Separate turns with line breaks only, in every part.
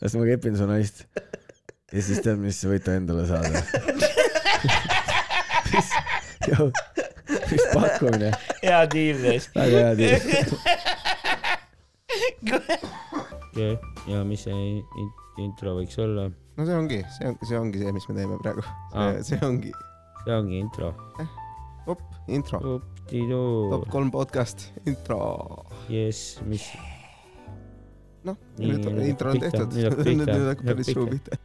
las ma kepin su naist . ja siis tead , mis võite endale saada . mis , mis pakkumine ,
hea diil teist .
väga hea tiim .
okei , ja mis see in- intro võiks olla ?
no see ongi , see on , see ongi see , mis me teeme praegu
Aa. .
see ongi ,
see ongi intro .
op , intro ,
Tidu
top , kolm podcast , intro .
jess , mis ,
noh ,
Nii, nüüd
nüüd on-
hakkab
intro on
pihta,
tehtud .
nüüd hakkab
nüüd
pihta,
nüüd hakkab
hakkab
päris suu
pihta.
pihta .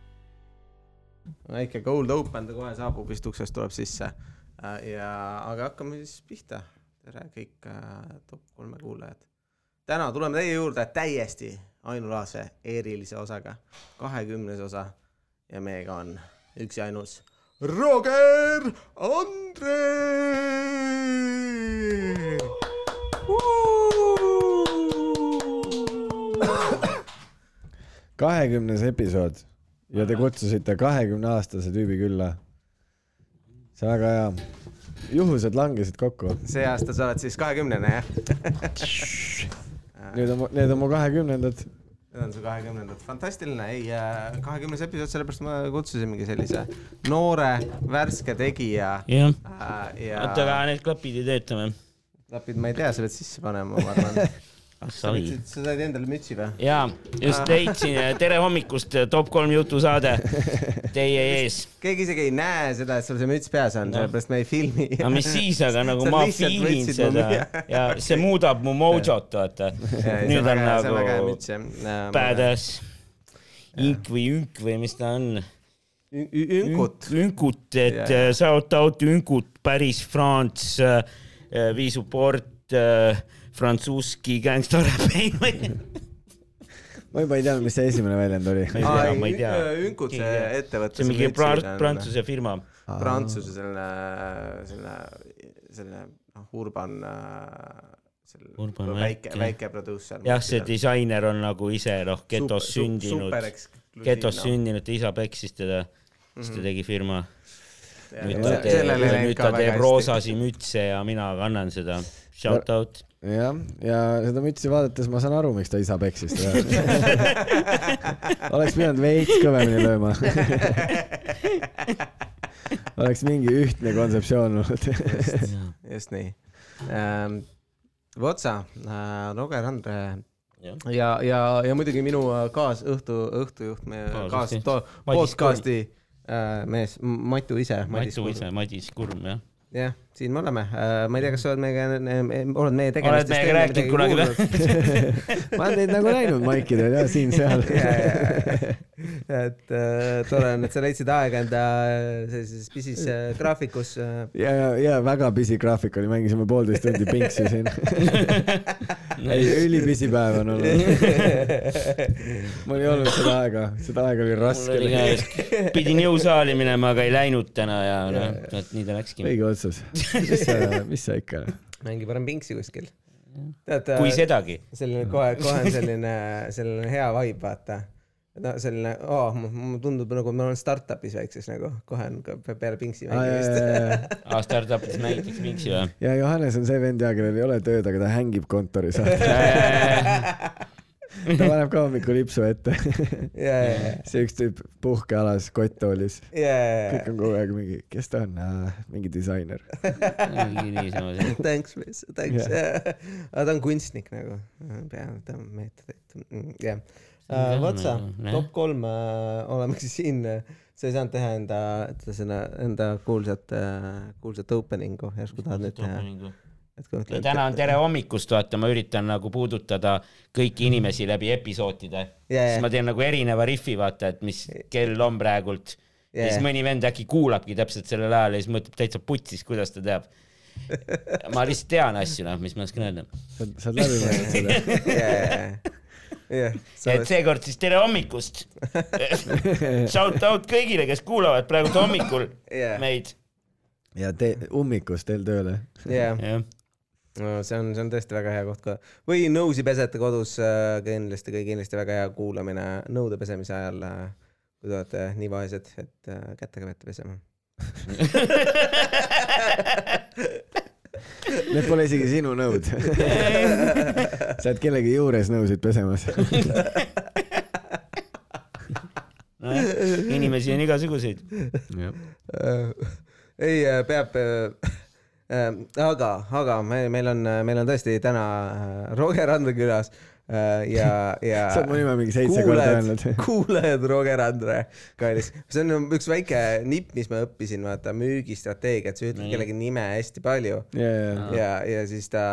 väike cold open , ta kohe saabub vist uksest tuleb sisse . ja , aga hakkame siis pihta . tere kõik äh, top kolme kuulajad . täna tuleme teie juurde täiesti ainulaadse erilise osaga , kahekümnes osa ja meiega on üks ja ainus Roger Andre .
kahekümnes episood ja te kutsusite kahekümne aastase tüübi külla . see on väga hea . juhused langesid kokku .
see aasta sa oled siis kahekümnene jah ?
Need on , need on mu kahekümnendad .
Need on su kahekümnendad , fantastiline , ei , kahekümnes episood , sellepärast ma kutsusimegi sellise noore värske tegija
jah ,
äh,
oota
ja
vähe , need klapid ei tööta või ?
klapid , ma ei tea , sa pead sisse panema , ma arvan . sa
Ah, Sorry.
võtsid- sa said endale mütsi või ?
ja ,
Ah.
just leidsin , tere hommikust , top kolm jutusaade teie ees .
keegi isegi ei näe seda , et sul see müts peas on ,
Noh.
sellepärast me ei filmi .
aga mis siis , aga nagu
Sa
ma
lihtsalt
feel in
võtsid mu
seda
mü-
ja see muudab mu mojot , vaata . nüüd on nagu
nagu .
badass , ink või ünk või mis ta on .
ünkut .
ünkut , et
Ja,
yeah. shout out ünkut , Paris , France , äh, Viisuport , Frantsuski , Gangsta Rap .
ma juba ei tea , mis see esimene väljend oli .
Ma ei tea, ma ei tea.
ünkut ,
Keegi
see
ei tea.
ettevõte .
see on mingi pra- prantsuse firma .
Prantsuse selline , selline , selline noh , urban ,
Urban
selline väike ,
väike.
väike produusser .
jah , see disainer on nagu ise noh , getos sündinud , getos sündinud , ta isa peksis teda , siis
Mhm.
ta tegi firma . nüüd ta teeb , nüüd ta teeb . roosasi mütse ja mina kannan seda . Shout out .
jah , ja seda mütsi vaadates ma saan aru , miks ta isa peksis teda . oleks pidanud veits kõvemini lööma . oleks mingi ühtne kontseptsioon olnud .
just nii . vot sa , Roger Andre ja , ja , ja muidugi minu äh, kaasõhtu , õhtujuht , meie kaas-
Kaasõhtu- , Madis
podcast'i äh, mees , Matu ise , Madis
Matu . ise , Madis Kurm jah .
jah , siin me oleme , ma ei tea , kas sa oled meiega , oled meie
oled
tegemistest
meiega rääkinud kunagi või ?
ma olen neid nagu näinud maikidel ja siin-seal .
et äh, tore on , et sa leidsid aega enda äh, sellises pisis äh, graafikus äh,
ja , ja , ja väga busy graafik oli , mängisime poolteist tundi pingsi siin . ei , ülibisi päev on olnud . mul ei olnud seda aega , seda aega oli raske
Oli
leida .
ka- pidin jõusaali minema , aga ei läinud täna ja noh , vot nii ta läkski .
õige otsus . mis sa , mis sa ikka .
mängi parem pingsi kuskil . tead äh,
kui , sedagi .
selline kohe , kohe on selline , selline hea vibe , vaata . no selline oh, , mulle tundub nagu ma olen startup'is väikses nagu , kohe on ka pe- peale pingsi mängimist .
ja
aa , startup'is mängitakse mingsi või ?
Johannes on see vend ja kellel ei ole tööd , aga ta hängib kontoris . ta paneb ka hommikul lipsu ette .
ja , ja ,
see üks tüüp puhkealas kotttoolis .
ja ,
kõik
ja .
on kogu aeg mingi , kes ta on ? mingi disainer .
mingi niisama see .
Thanks , miss , thanks . aga ta on kunstnik nagu , peab , ta on meetodit , jah .
See on
vot sa
nagu, , jah.
top kolm äh, olemegi siin , sa ei saanud teha enda , seda enda kuulsat , kuulsat opening'u , järsku tahad nüüd teha ? et kui
Ja
ütled .
täna on tere hommikust , vaata , ma üritan nagu puudutada kõiki inimesi läbi episoodide
Jajah.
yeah. . siis ma teen nagu erineva rifi , vaata , et mis kell on praegult yeah. . ja
Jajah.
siis mõni vend äkki kuulabki täpselt sellel ajal ja siis mõtleb täitsa putsis , kuidas ta teab . ma lihtsalt tean asju , noh , mis ma oskan öelda .
sa sa oled läbi mõelnud seda ?
jah , sa
et
oled ,
seekord siis tere hommikust . Shout out kõigile , kes kuulavad praegu hommikul
Jajah.
yeah. meid .
ja te ummikus teil tööle .
jah ,
jah ,
see on , see on tõesti väga hea koht ka . või nõusid pesete kodus äh, kindlasti , kindlasti väga hea kuulamine nõude pesemise ajal , kui te olete nii vaesed , et äh, kätega peate pesema
Need pole isegi sinu nõud . sa oled kellegi juures nõusid pesemas .
nojah , inimesi on igasuguseid .
Äh, ei , peab , aga , aga me , meil on , meil on tõesti täna äh, Roger Randre külas äh, ja , ja
sa oled mu nime mingi seitse korda öelnud .
kuulajad Roger Andre , kallis , see on üks väike nipp , mis ma õppisin , vaata müügistrateegiat , sa ütled
Nii.
kellegi nime hästi palju
ja , ja ,
ja , ja siis ta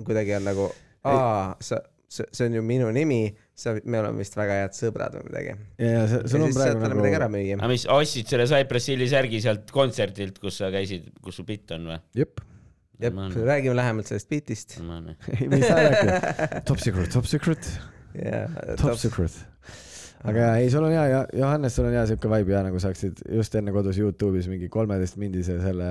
kuidagi on nagu , aa , sa , see see on ju minu nimi , sa , me oleme vist väga head sõbrad või midagi .
ja , ja sa-
ja
sul on
siis saad
praegu
talle midagi ära
nagu ,
müüa .
aga mis , ostsid selle Cypress Hilli särgi sealt kontserdilt , kus sa käisid , kus su bitt on või ?
jep ,
jep , räägime lähemalt sellest bitist .
normaalne .
mis sa räägid , top secret , top secret , top secret . aga jaa , ei , sul on hea ja Johannes , sul on hea siuke vibe ja nagu saaksid just enne kodus Youtube'is mingi kolmeteist mindise selle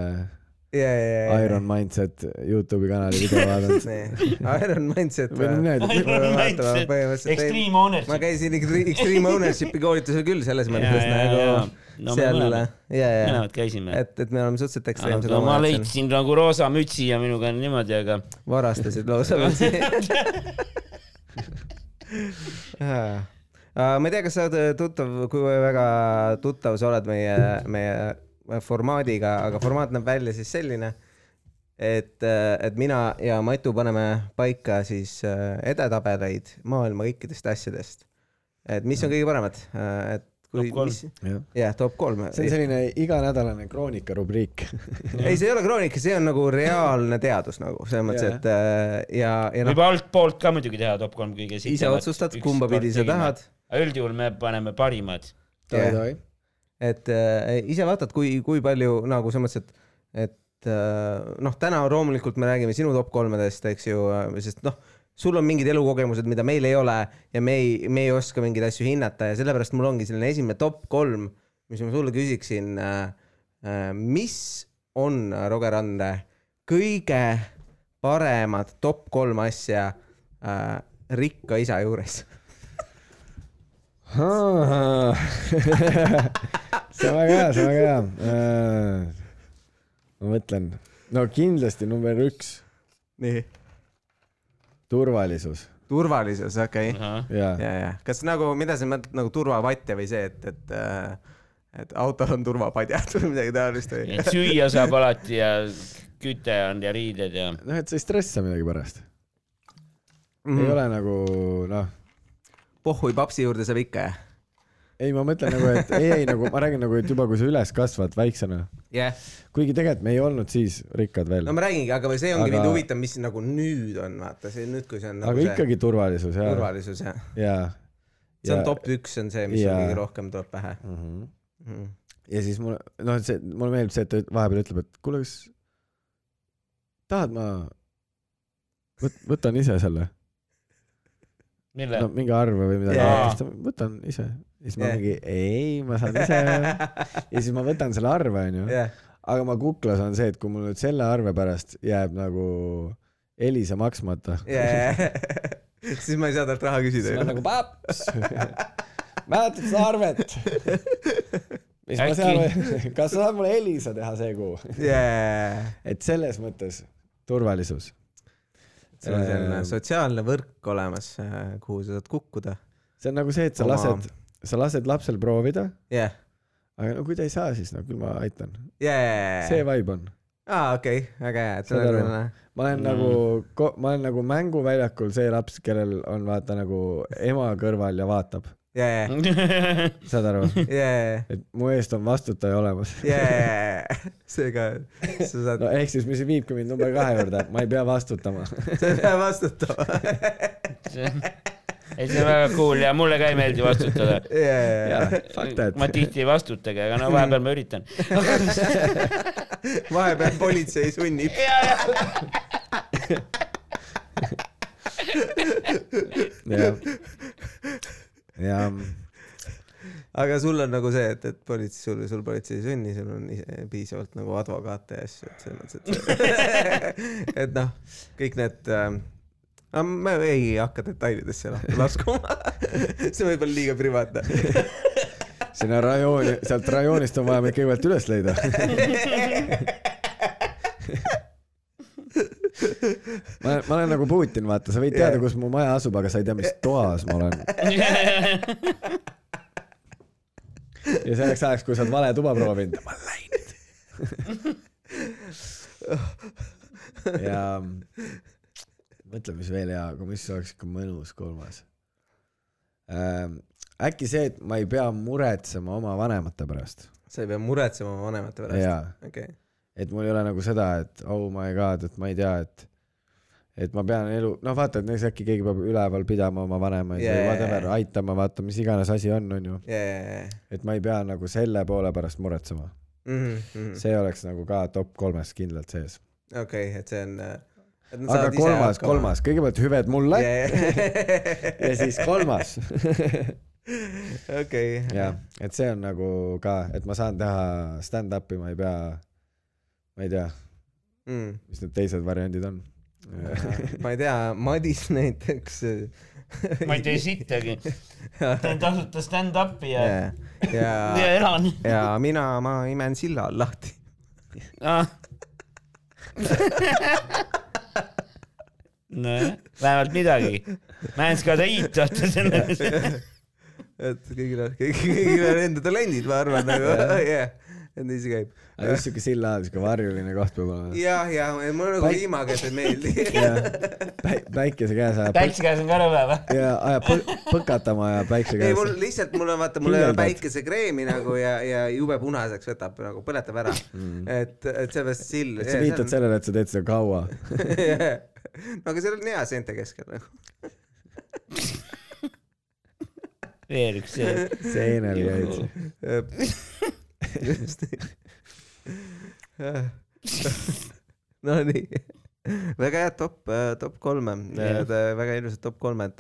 ja , ja , ja ,
Iron Mindset Youtube'i kanali video vaadanud .
ja . Iron Mindset .
või noh , näed ,
Iron Mindset.
põhimõtteliselt ei ,
Extreme
ma
Ownership .
käisin Extre- Extreme Ownership'i koolitusel küll selles mõttes nagu
no me
seal ,
mõlemad ,
ja , ja ,
mõlemad käisime .
et , et me oleme suhteliselt ekstreemsed
aga ma
omavahel seal. noh.
leidsin nagu roosa mütsi ja minuga on niimoodi , aga
varastasid lausa veel . ma ei tea , kas sa oled äh, tuttav , kui väga tuttav sa oled meie , meie formaadiga , aga formaat näeb välja siis selline , et , et mina ja Matu paneme paika siis äh, edetabeleid maailma kõikidest asjadest . et mis on kõige paremad , et kui
Top kolm. ,
jah .
jah , top kolm .
see on selline iganädalane kroonika rubriik .
ei , see ei ole kroonika , see on nagu reaalne teadus nagu selles mõttes ,
Jaa.
et äh, ja , ja
võib altpoolt ka muidugi teha top kolm kõige
ise otsustad , kumba pidi sa tahad ,.
üldjuhul me paneme parimad .
davai-davai .
et äh, ise vaatad , kui , kui palju nagu selles mõttes , et , et äh, noh , täna loomulikult me räägime sinu top kolmedest , eks ju , sest noh , sul on mingid elukogemused , mida meil ei ole ja me ei , me ei oska mingeid asju hinnata ja sellepärast mul ongi selline esimene top kolm , mis ma sulle küsiksin äh, . äh, mis on äh, Roger Andre kõige paremad top kolm asja äh, rikka isa juures ?
see on väga hea , see on väga hea . ma mõtlen , no kindlasti number üks ,
nii .
turvalisus
turvalisus , okei okay. .
ja ,
ja , ja kas nagu , mida sa mõtled nagu turvavatte või see , et , et , et autol on turvapadjad või midagi taolist või ?
et süüa saab alati ja küte on ja riided ja .
noh , et sa ei stressa midagi pärast . ei ole nagu noh ,
pohhui papsi juurde saab ikka jah ?
ei , ma mõtlen nagu , et ei , ei nagu ma räägin nagu , et juba kui sa üles kasvad väiksena ,
jah ,
kuigi tegelikult me ei olnud siis rikkad veel
no , ma räägingi , aga see ongi
Aga-
aga... mind huvitav , mis nagu nüüd on , vaata see nüüd , kui see on nagu
aga ikkagi turvalisus
see
ja ,
turvalisus ja
ja .
see on top üks , on see , mis
Jaa.
sul kõige rohkem tuleb pähe
mm . -hmm
mm. .
ja siis mul , noh , see , mulle meeldib see , et ta üt- vahepeal ütleb , et kuule , kas tahad , ma võt, võtan ise selle ,
mille
no ? mingi arve või midagi
Jaa.
yeah. , võtan ise . ja siis ma
Jah.
yeah. mingi , ei , ma saan ise . ja siis ma võtan selle arve , onju .
jah ,
aga ma kuklas on see , et kui mul nüüd selle arve pärast jääb nagu Elisa maksmata
ja , ja , ja siis ma ei saa talt raha
siis ma
küsida .
nagu paps , mäletad seda arvet ? mis ma seal , kas sa saad mulle Elisa teha see kuu ?
jaa ,
et selles mõttes turvalisus .
sul on selline
Ehm.
sotsiaalne võrk olemas , kuhu sa saad kukkuda .
see on nagu see , et sa
Oma-
lased , sa lased lapsel proovida ,
jah ,
aga no kui ta ei saa , siis no küll ma aitan .
jaa .
see vibe on .
aa , okei okay. , väga hea , et sul
Saad
on
aru?
selline ,
ma olen
Mm.
mm. nagu , ma olen nagu mänguväljakul see laps , kellel on vaata nagu ema kõrval ja vaatab ,
ja , ja ,
saad aru ?
ja ,
et mu eest on vastutaja olemas .
ja , ja , seega sa saad
no , ehk siis , mis viibki mind number kahe juurde , ma ei pea vastutama .
sa ei pea vastutama .
ei , see on väga cool ja mulle ka ei meeldi vastutada .
ja , ja ,
jaa , fuck that .
ma tihti ei vastutagi , aga no vahepeal ma üritan .
ja , vahepeal politsei sunnib .
jah . ja ,
aga sul on nagu see , et , et politsei sul , sul politsei ei sunni , sul on ise piisavalt nagu advokaate ja asju , et selles mõttes , et , et noh , kõik need ähm, aga me ei hakka detailidesse lahti laskuma . see võib olla liiga privaatne .
sinna rajooni , sealt rajoonist on vaja mind kõigepealt üles leida . ma olen , ma olen nagu Putin , vaata , sa võid teada , kus mu maja asub , aga sa ei tea , mis toas ma olen . ja selleks ajaks, kui sa oled vale tuba proovinud. ma läinud. ja mm, mõtle, mis veel hea, aga mis oleks ikka mõnus kolmas ähm,. äkki see, et ma ei pea muretsema oma vanemate pärast.
sa ei pea muretsema oma vanemate pärast? okei okay..
et mul ei ole nagu seda, et oh my god, et ma ei tea, et et ma pean elu, noh, vaata, et näiteks äkki keegi peab üleval pidama oma vanemaid yeah. või whatever, aitama, vaata, mis iganes asi on, onju
yeah..
et ma ei pea nagu selle poole pärast muretsema
mm. -hmm.
see oleks nagu ka top kolmes kindlalt sees.
okei okay,, et see on.
aga kolmas, kolmas, kõigepealt hüved mulle
yeah.
ja siis kolmas.
okei.
jah, et see on nagu ka, et ma saan teha stand-up'i, ma ei pea, ma ei tea
mm.,
mis need teised variandid on
ma ei tea, Madis näiteks
ma ei tee sittagi. teen tasuta stand-up'i ja
yeah., äh, ja,
ja elan.
ja mina, ma imen silla all lahti
ah.. nojah, vähemalt midagi. Mäens ka te eitate selle.
et kõigil on, kõigil on enda talendid, ma arvan, nagu yeah et nii see käib.
aga just siuke silla all, siuke varjuline koht peab olema.
jah, ja mul nagu Päik... ilmaga see ei meeldi
Päik. päikese käes ajab.
päikese käes on ka rõve või?
ja ajab põ põkatama ja päikese käes.
ei mul lihtsalt, mul on vaata, mul ei ole päikesekreemi nagu ja, ja jube punaseks võtab nagu, põletab ära mm.. et, et sellepärast sill.
et sa viitad on... sellele, et sa teed seda kaua
no aga seal on hea seente keskel nagu
veel üks see.
seenel
Äh.
käid
just Nonii, väga head top, äh, top kolme, äh, väga ilusad top kolmed.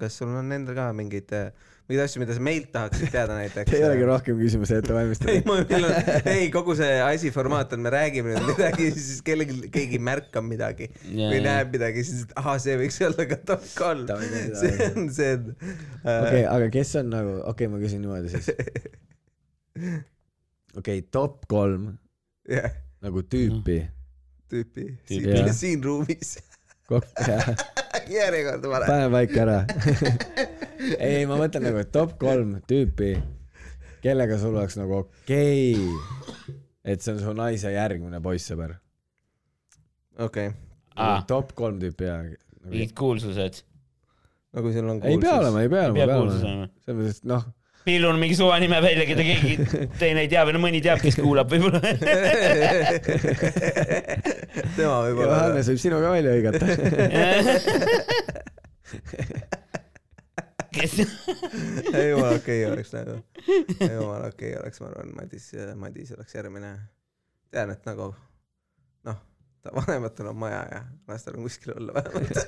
kas sul on endal ka mingeid, äh, mingeid asju, mida sa meilt tahaksid teada näiteks?
ei olegi rohkem küsimusi ette valmistada.
ei, kogu see asi formaat on, me räägime nüüd midagi, siis kellelgi, keegi märkab midagi yeah. või näeb midagi, siis ahah, see võiks olla ka top kolm. see on, see äh, on.
okei, aga kes on nagu, okei okay,, ma küsin niimoodi siis okei okay,, top kolm
yeah.
nagu tüüpi mm..
tüüpi, siin, yeah. siin ruumis
Kok.
järjekord
vale. pane paika ära ei, ma mõtlen nagu top kolm tüüpi, kellega sul oleks nagu okei okay., et see on su naise järgmine poissõber.
okei okay.
ah.. top kolm tüüpi ja
nagu.... mingid kuulsused.
no kui sul on
kuulsus. ei pea olema, ei pea olema, ei pea olema. selles mõttes, noh
pillun mingi suva nime välja, keda keegi teine ei tea või no mõni teab, kes kuulab võib-olla
tema võib-olla.
Hannes võib sinu ka välja hõigata
kes?
ei jumala okei okay, oleks nagu, jumala okei okay, oleks, ma arvan, Madis, Madis oleks järgmine. tean, et nagu noh, vanematel on maja ja lastel on kuskil olla vähemalt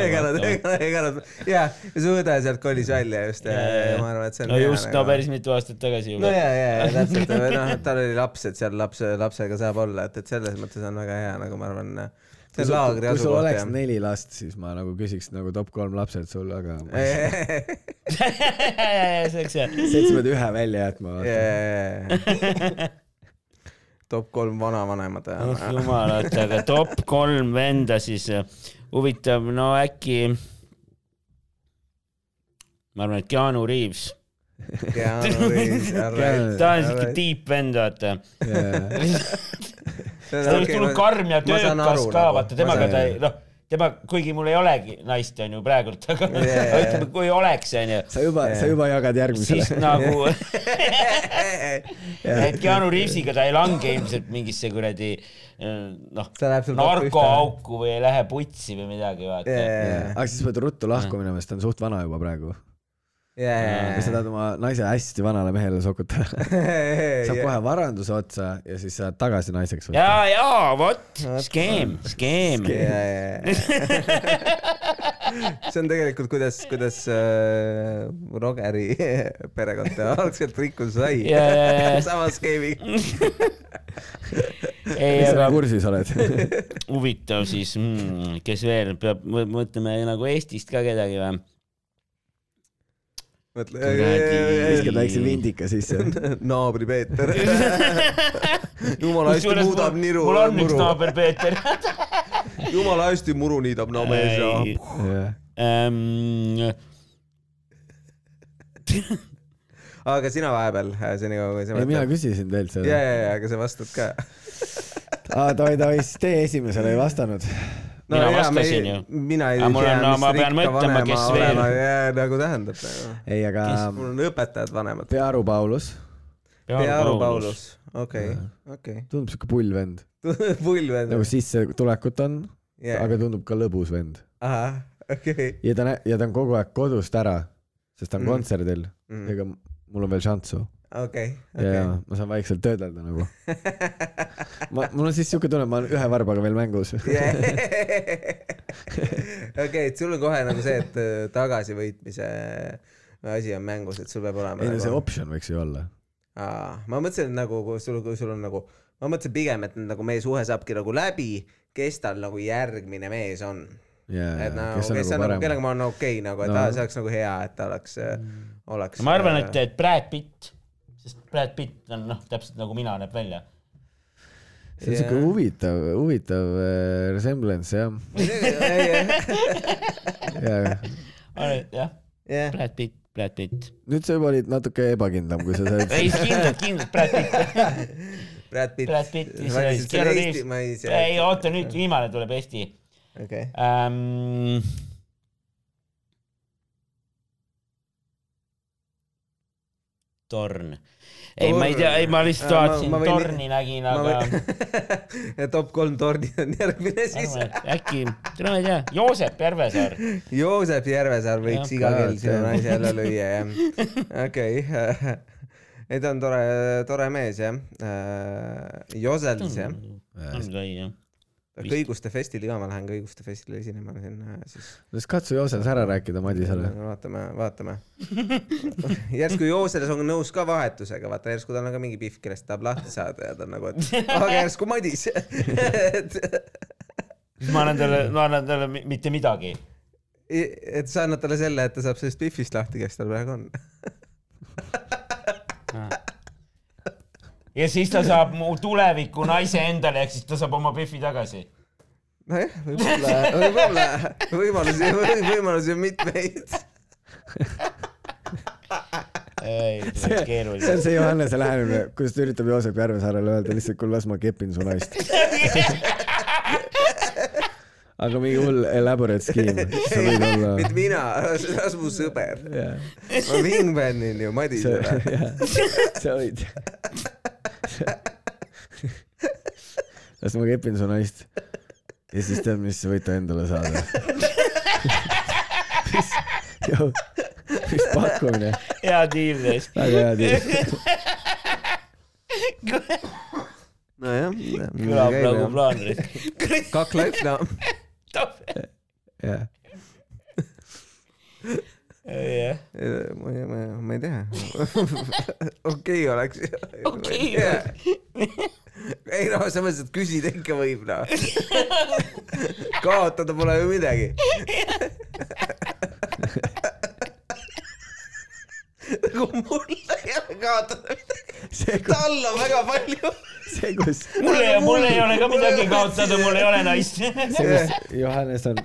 ega nad, ega nad, ega nad, jaa, su õde sealt kolis välja just ja, ja ma arvan, et see on nagu.
no just, no päris mitu aastat tagasi
juba. no jaa, jaa, täpselt, noh, tal oli laps, et seal laps, lapsega saab olla, et, et selles mõttes on väga hea, nagu ma arvan, see on laagri
asukoht. kui sul oleks neli last, siis ma nagu küsiks nagu top kolm lapsed sul, aga
see oleks hea.
sealt sa pead ühe välja jätma.
top kolm vanavanemad.
oh jumal, oota, aga top kolm venda siis äh, huvitav, no äkki. ma arvan, et Keanu Reaves.
Keanu Reaves
ta on siuke tiip vend, vaata yeah.. ta oleks okay, tulnud karm ja töökas ka,
nagu,
vaata temaga ta ei, noh tema, kuigi mul ei olegi naist, onju, praegult, aga yeah. ütleme, kui oleks, onju.
sa juba yeah., sa juba jagad järgmisele.
siis nagu yeah. et Keanu Reavesiga ta ei lange ilmselt mingisse kuradi noh, narkoauku või ei lähe putsi või midagi, vaata
yeah.. Yeah.
aga siis pead ruttu lahku minema, sest ta on suht vana juba praegu.
Yeah.
sa tahad oma naise hästi vanale mehele sokutada saab yeah. kohe varanduse otsa ja siis saad tagasi naiseks.
ja, ja vot skeem, skeem.
see on tegelikult, kuidas, kuidas äh, Rogeri perekond algselt rikkus sai
yeah..
sama skeemi
mis sa nagu kursis oled?
huvitav siis mm,, kes veel peab, mõtleme nagu Eestist ka kedagi või?
mõtle.
viskad väikse vindika sisse
naabri Peeter jumala hästi muudab niru.
mul on üks naaber Peeter
jumala hästi muru
Ehm,
niidab no mees ja.
Ähm...
aga sina vahepeal äh, senikaua kui sa
ei , mina küsisin teilt
ja ,
seda .
ja , ja , aga sa vastad ka .
aa , davai , davai , siis teie esimesele ei vastanud .
Mina vastasin ju.
mina ei
Aga mul on- no ma
mis
pean
rikka
mõtlema,
vanema
kes
olema
veel.
jää- nagu tähendab nagu. .
ei , aga
mul on õpetajad vanemad .
Pearu Paulus ,
Pearu . Paulus , okei , okei .
tundub siuke pull vend ,
pull või ?
nagu sissetulekut on , aga tundub ka lõbus vend
ahah , okei .
ja ta nä- , ja ta on kogu aeg kodust ära , sest ta on
Mhm.
mm. kontserdil , ega m- mul on veel šanssu
okei ,
okay. ja
okei .
ma saan vaikselt töödelda nagu . ma , mul on siis siuke tunne , ma olen ühe varbaga veel mängus .
okei , et sul on kohe nagu see , et äh, tagasivõitmise äh, asi on mängus , et sul peab olema .
ei no see optsioon võiks ju olla .
Aa, ma mõtlesin et nagu , kui sul , kui sul on nagu , ma mõtlesin pigem , et nagu meie suhe saabki nagu läbi , kes tal nagu järgmine mees on .
jaa ,
et nagu ,
kes on nagu
nagu , kellega
parem .
ma olen okei okay, nagu , et
No.
no. see oleks nagu hea , et ta oleks mm. , oleks .
ma arvan , et , et Brad Pitt , sest Brad Pitt on noh , täpselt nagu mina näeb välja .
see on siuke
Jah.
huvitav , huvitav äh, resemblance jah ,
et .
jaa .
jah ,
jah ,
Brad Pitt , Brad Pitt .
nüüd sa juba olid natuke ebakindlam , kui sa said .
ei , kindlalt , kindlalt Brad Pitt ,
Brad Pitt .
Brad Pitt , siis
Ma ei-
oli
siis
Keanu
Eesti- ma ei
Reaves .
tea.
ei oota , nüüd viimane tuleb Eesti
okei ,
ähm... . torn . ei , ma ei tea , ei ma lihtsalt
Äh, ma-
vaatasin
ma , võin-
torni nägin ,
ma
aga
võin , top kolm tornid on järgmine siis .
arvan , et äkki , no ma ei tea , Joosep Järvesaar .
Joosep Järvesaar võiks
Jah.
iga
Ka-
kell sinu
ka-
naise jälle lüüa , jah . okei . ei , ta on tore , tore mees , jah . Äh, Josels , jah .
on ka ei jah .
kõiguste festil , ka ma lähen kõiguste festile esinema sinna siis .
siis katsu Jooses ära rääkida Madisele .
vaatame , vaatame . järsku Joosels on nõus ka vahetusega , vaata järsku tal on ka mingi pihv , kellest tahab lahti saada ja ta on nagu , et aga järsku Madis . et ,
siis ma annan talle , ma annan talle mi- mitte midagi .
et sa annad talle selle , et ta saab sellest pihvist lahti , kes tal praegu on .
ja siis ta saab mu tuleviku naise endale , ehk siis ta saab oma Biffi tagasi .
nojah , võib-olla , võib-olla , võimalusi , võimalusi on mitmeid .
ei , see on
see on
keeruline .
see Johannese lähenemine , kuidas ta üritab Joosep Järvesaarele öelda lihtsalt , kuule las ma kepin su naist . aga mingi hull elaborate skeem , see võib olla .
mitte mina , see on mu sõber . ma wingmanin ju Madisele .
sa olid . las ma kepin su naist . ja siis tead , mis võite endale saada . mis , mis pakkumine ,
hea diil teist .
väga hea tiim .
nojah .
kõlab nagu . plaan teist .
kak life no .
jah ,
jah ,
Eh, ma ei , ma ei , ma ei tea . okei oleks .
Okei
oleks . ei noh , selles mõttes , et küsida ikka võib noh . kaotada pole ju midagi . nagu mul ei ole kaotada
see ,
tal on väga palju .
see , kus
mul ei , mul ei ole ka midagi kaotada , mul ei ole naist .
selles Johannes on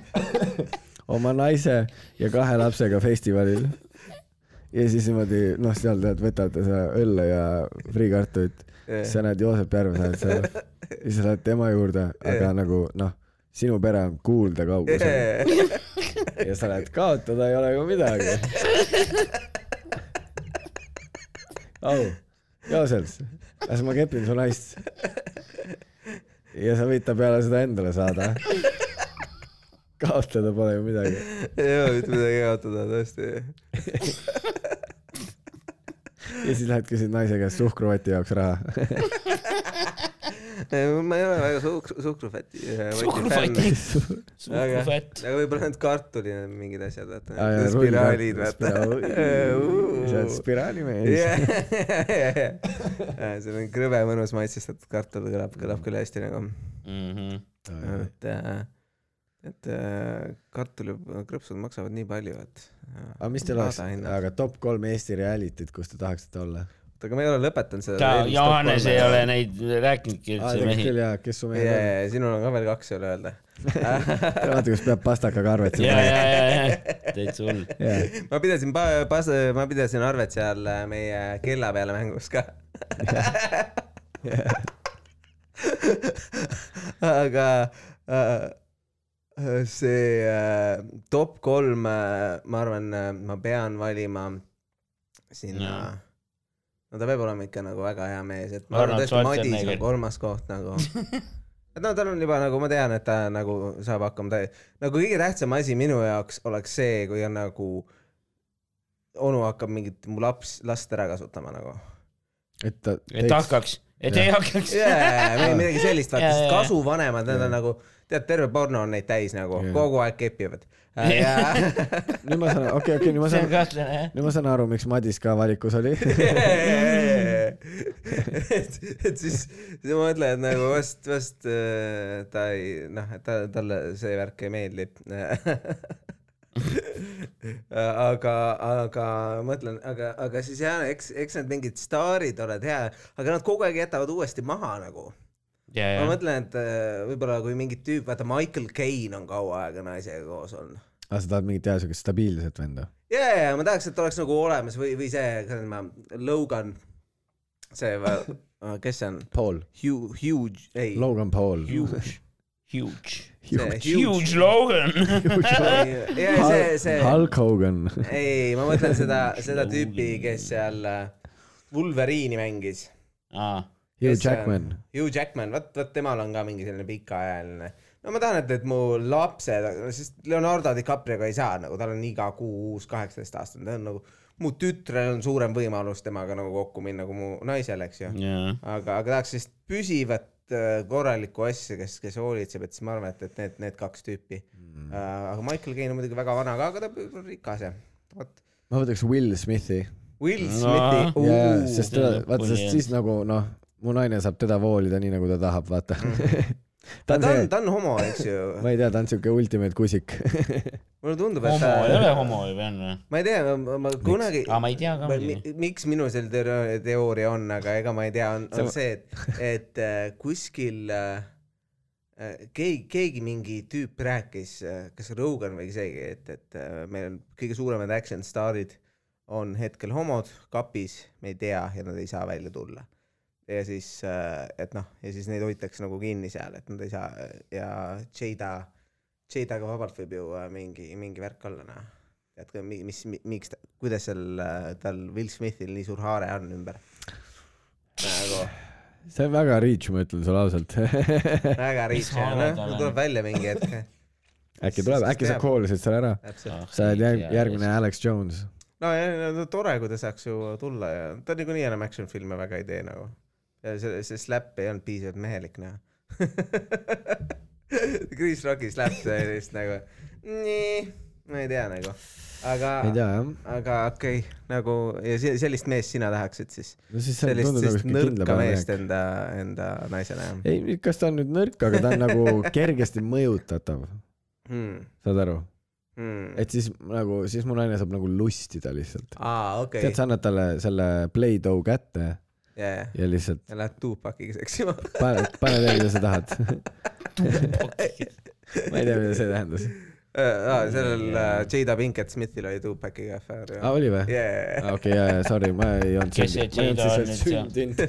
oma naise ja kahe lapsega festivalil . ja siis niimoodi , noh , seal tead , võtad seda õlle ja friikartulit , sa näed Joosep Järvesaart seal ja sa lähed tema juurde , aga nagu noh , sinu pere on kuulda kaugusel ja sa lähed kaotada , ei ole ju midagi . au , Joosep , las ma kepin su naist . ja sa võid ta peale seda endale saada . kaotada pole ju midagi .
ei ole mitte midagi kaotada , tõesti .
ja siis lähed küsid naise käest suhkruvati jaoks raha .
ma ei ole väga eh, suhkru , suhkrufäti .
Suhkrufäti.
aga ,
suhkrufätt .
aga võib-olla need kartuli mingid asjad , vaata . spiraalid ,
sa
vaata .
oled spiraalimees .
see on krõbe mõnus maitsestatud kartul , kõlab , kõlab küll hästi nagu ,
Mhm.
et , et äh, kartulikrõpsud maksavad nii palju , et . äh,
aga mis teil oleks ,? aga top kolm Eesti reality't , kus te tahaksite olla ?
oota, aga ma ei ole lõpetanud seda.
Johannes ei ole neid rääkinudki
aa ,
üldse
tegelikult
mehi .
küll jaa , kes su
ja ,
mees
ja
on . ,
ja sinul on ka veel kaks veel öelda .
vaata , kus peab pastakaga arvet
ja ,
siin .
ja , ja , ja täitsa hull .
jaa ,
ma pidasin pa- , pas- , ma pidasin arvet seal äh, meie kella peale mängus ka . aga äh, see äh, top kolm , ma arvan , ma pean valima sinna
Jaa.
no ta peab olema ikka nagu väga hea mees , et ma arvan
Arnold
tõesti Madis
Schwarzenegger.
on nagu kolmas koht nagu . et no tal on juba nagu ma tean , et ta nagu saab hakkama , ta nagu kõige tähtsam asi minu jaoks oleks see , kui on nagu onu hakkab mingit mu laps , last ära kasutama nagu
et ta
et hakkaks , et ei hakkaks .
yeah, . või midagi sellist , vaata ,
Jaa,
sest
jaa, jaa.
kasuvanemad , need on nagu , tead , terve porno on neid täis nagu
Jaa.
yeah. , kogu aeg kepivad .
nüüd ma saan , okei , okei , nüüd ma
see on
saan ,
kahtlane jah .
nüüd ma saan aru , miks Madis ka valikus oli .
et , et siis , siis ma mõtlen , et nagu vast , vast äh, ta ei , noh , et ta , talle see värk ei meeldi . aga , aga mõtlen , aga , aga siis jah , eks , eks need mingid staarid oled hea , aga nad kogu aeg jätavad uuesti maha nagu
ja ,
ma
ja ,
mõtlen , et äh, võib-olla kui mingi tüüp , vaata Michael Caine on kaua aega naisega koos olnud .
aa , Ah, sa tahad mingit teha siukest stabiilset venda ?
ja , ja , ja ma tahaks , et oleks nagu olemas või , või see , ma , Logan , see , kes see on ?
Paul .
Hugh , Hugh , ei .
Logan Paul .
huge , huge ,
Huge.
huge Logan .
ja see , see ,
Hulk Hogan .
ei , ma mõtlen seda , seda
Logan.
tüüpi , kes seal äh, Wolverine'i mängis .
aa ,
Hugh
Kes see on?
Jackman .
äh, Hugh Jackman , vot , vot temal on ka mingi selline pikaajaline . no ma tahan , et , et mu lapsed , sest Leonardo DiCaprioga ei saa nagu , tal on iga kuu uus kaheksateist aastane , ta on nagu , mu tütrel on suurem võimalus temaga nagu kokku minna kui mu naisel , eks ju .
jaa .
aga , aga tahaks sellist püsivat äh, korralikku asja , kes , kes hoolitseb , et siis ma arvan , et , et need , need kaks tüüpi mm. . aga Michael Caine on muidugi väga vana ka , aga ta on rikas ja vot
ma võtaks Will Smithi .
Will
No.
Smithi no, ,
jaa , sest
See on
teda , vaata ,
lõpuni
sest siis nagu noh , mu naine saab teda voolida nii nagu ta tahab , vaata .
Mm.
ta
ta on see
on ,, ta on homo , eks ju .
ma ei tea , ta on siuke ultimate kusik .
mulle tundub , et
homo ei ole homo ju , Jan või ?
ma ei tea , ma, ma kunagi .
Aa, Ah, ma ei tea ka muidugi. .
miks minul see teor- teooria on , aga ega ma ei tea , on , on see , et , et äh, kuskil äh, äh, keegi , keegi mingi tüüp rääkis , kas Rogan või keegi , et , et äh, meil on kõige suuremad action staarid on hetkel homod kapis , me ei tea ja nad ei saa välja tulla . ja siis , et noh , ja siis neid hoitakse nagu kinni seal , et nad ei saa ja Jada , Jadaga vabalt võib ju äh, mingi , mingi värk olla , noh . et kui- mi- mis , miks , kuidas seal äh, tal Will Smithil nii suur haare on ümber . nagu
see on väga reach , ma ütlen sulle ausalt .
väga riis ,
haare tal
noh
on? ,
tuleb välja mingi hetk .
äkki tuleb , äkki sa call isid selle ära .
Ah,
täpselt .
sa oled järg- , järgmine Alex Jones .
no ja, ja no, tore , kui ta saaks ju tulla ja ta niikuinii enam action filme väga ei tee nagu . see , see slap ei olnud piisavalt mehelik noh . Chris Rocki slap , see oli vist nagu nii , ma ei tea nagu , aga
ei , tea jah .
aga okei okay, , nagu ja se- sellist meest sina tahaksid siis ?
no siis see
sellist
tundub nagu
sellist
siuke kindla
nõrka meest
peale .
enda , enda naisena jah
ei , kas ta on nüüd nõrk , aga ta on nagu kergesti mõjutatav ,
hmm. .
saad aru ?
Hmm.
et siis nagu , siis mu naine saab nagu lustida lihtsalt .
aa , Ah, okei
tead ,
okay. ,
sa annad talle selle Play-Doh kätte
jaa , jaa .
ja lihtsalt
ja lähed tuupakiga seksima .
pane , pane tee , mida sa tahad . ma ei tea , mida see tähendas .
aa , sellel äh, Jada Pinkett Smithil oli tuupakiga afäär
aa ,
jah .
Ah, oli või ?
jaa ,
okei , jaa , jaa , sorry , ma ei olnud
Kes see
sündinud ,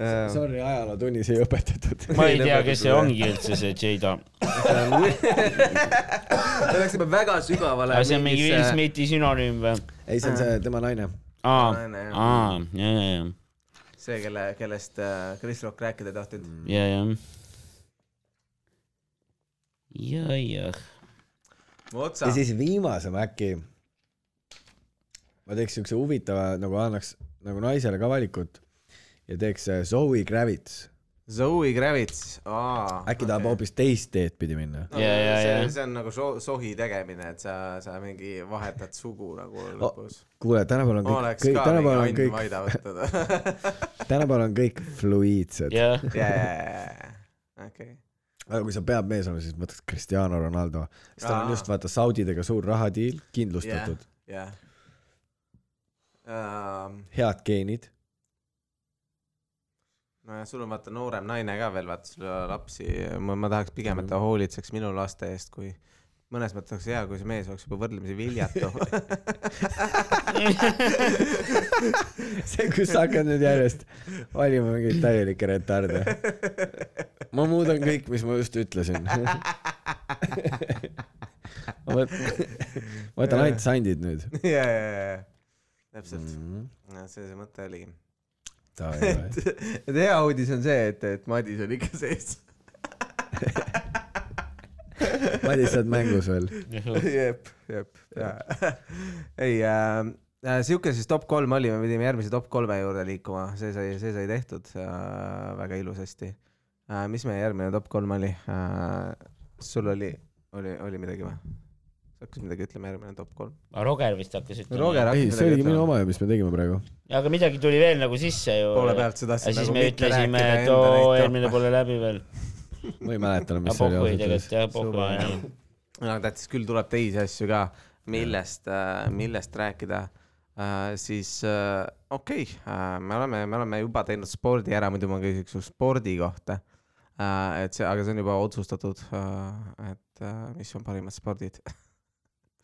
ma ei olnud siis veel sündinud .
Jada on nüüd
jaa .
Sorry , ajalootunnis ei õpetatud .
ma ei tea , kes see ongi üldse see Jada .
me läksime väga sügavale .
see on mingi
äh,
Will Smithi sünonüüm või ?
ei , see on
Ah.
see tema naine .
aa ,
Naine, jah.
aa , ja , ja , ja ,
see , kelle , kellest äh, Chris Rock rääkida ei tahtnud .
Mm.
ja , ja . ja , jah .
mu otsa
ja . siis viimase ma äkki , ma teeks siukse huvitava , nagu annaks nagu naisele ka valikut ja teeks äh, Zoe Kravitz .
Zoe Kravitz , aa .
äkki tahab hoopis teist teed pidi minna .
no,
Jaa, jaa,
see,
jaa.
see on nagu so- , sohi tegemine , et sa , sa mingi vahetad sugu nagu lõpus .
kuule , tänapäeval on Oh. kõik ,
oleks
kõik ,
ka mingi
tänapäeval on
Ain
kõik ,
Vaida võtta .
tänapäeval on kõik fluiidsed .
jah ,
okei .
aga kui sa pead mees olema , siis ma võtaks Cristiano Ronaldo , sest tal
Aa.
on just vaata Saudi dega suur rahadiil kindlustatud .
jah . uh, .
head geenid .
nojah , sul on vaata noorem naine ka veel , vaata sul ei ole lapsi , ma , ma tahaks pigem , et ta hoolitseks minu laste eest , kui mõnes mõttes oleks hea , kui see mees oleks juba võrdlemisi viljatu .
see , kus sa hakkad nüüd järjest valima mingeid täielikke retarde . ma muudan kõik , mis ma just ütlesin . ma võt- ma võtan ainult sandid nüüd .
ja , ja , ja , täpselt ,
Mm-hmm.
see see mõte oligi . et , Mm. et hea uudis on see , et , et Madis on ikka sees .
Madis , sa oled mängus veel .
jep , jep , jaa . ei äh, , sihuke siis top kolm oli , me pidime järgmise top kolme juurde liikuma , see sai , see sai tehtud äh, väga ilusasti äh, . mis meie järgmine top kolm oli äh, ? sul oli , oli , oli midagi või ? sa hakkasid midagi ütlema , järgmine top kolm .
Roger vist hakkas ütlema .
Roger
ei ,
hakkas
see oligi minu . oma ju , mis me tegime praegu .
aga midagi tuli veel nagu sisse ju .
poole pealt nagu sa
ja
tahtsid
siis me ütlesime , et oo , eelmine pole läbi veel .
ma ei mäleta enam ,
aga
mis see oli
Poku ei
ausalt öeldes
tegelikult . jah , Poku
Suva.
enam .
no tähtis küll tuleb teisi asju ka , millest , millest rääkida . siis äh, okei okay, , me oleme , me oleme juba teinud spordi ära , muidu ma küsiks su spordi kohta . et see , aga see on juba otsustatud , et äh, mis on parimad spordid .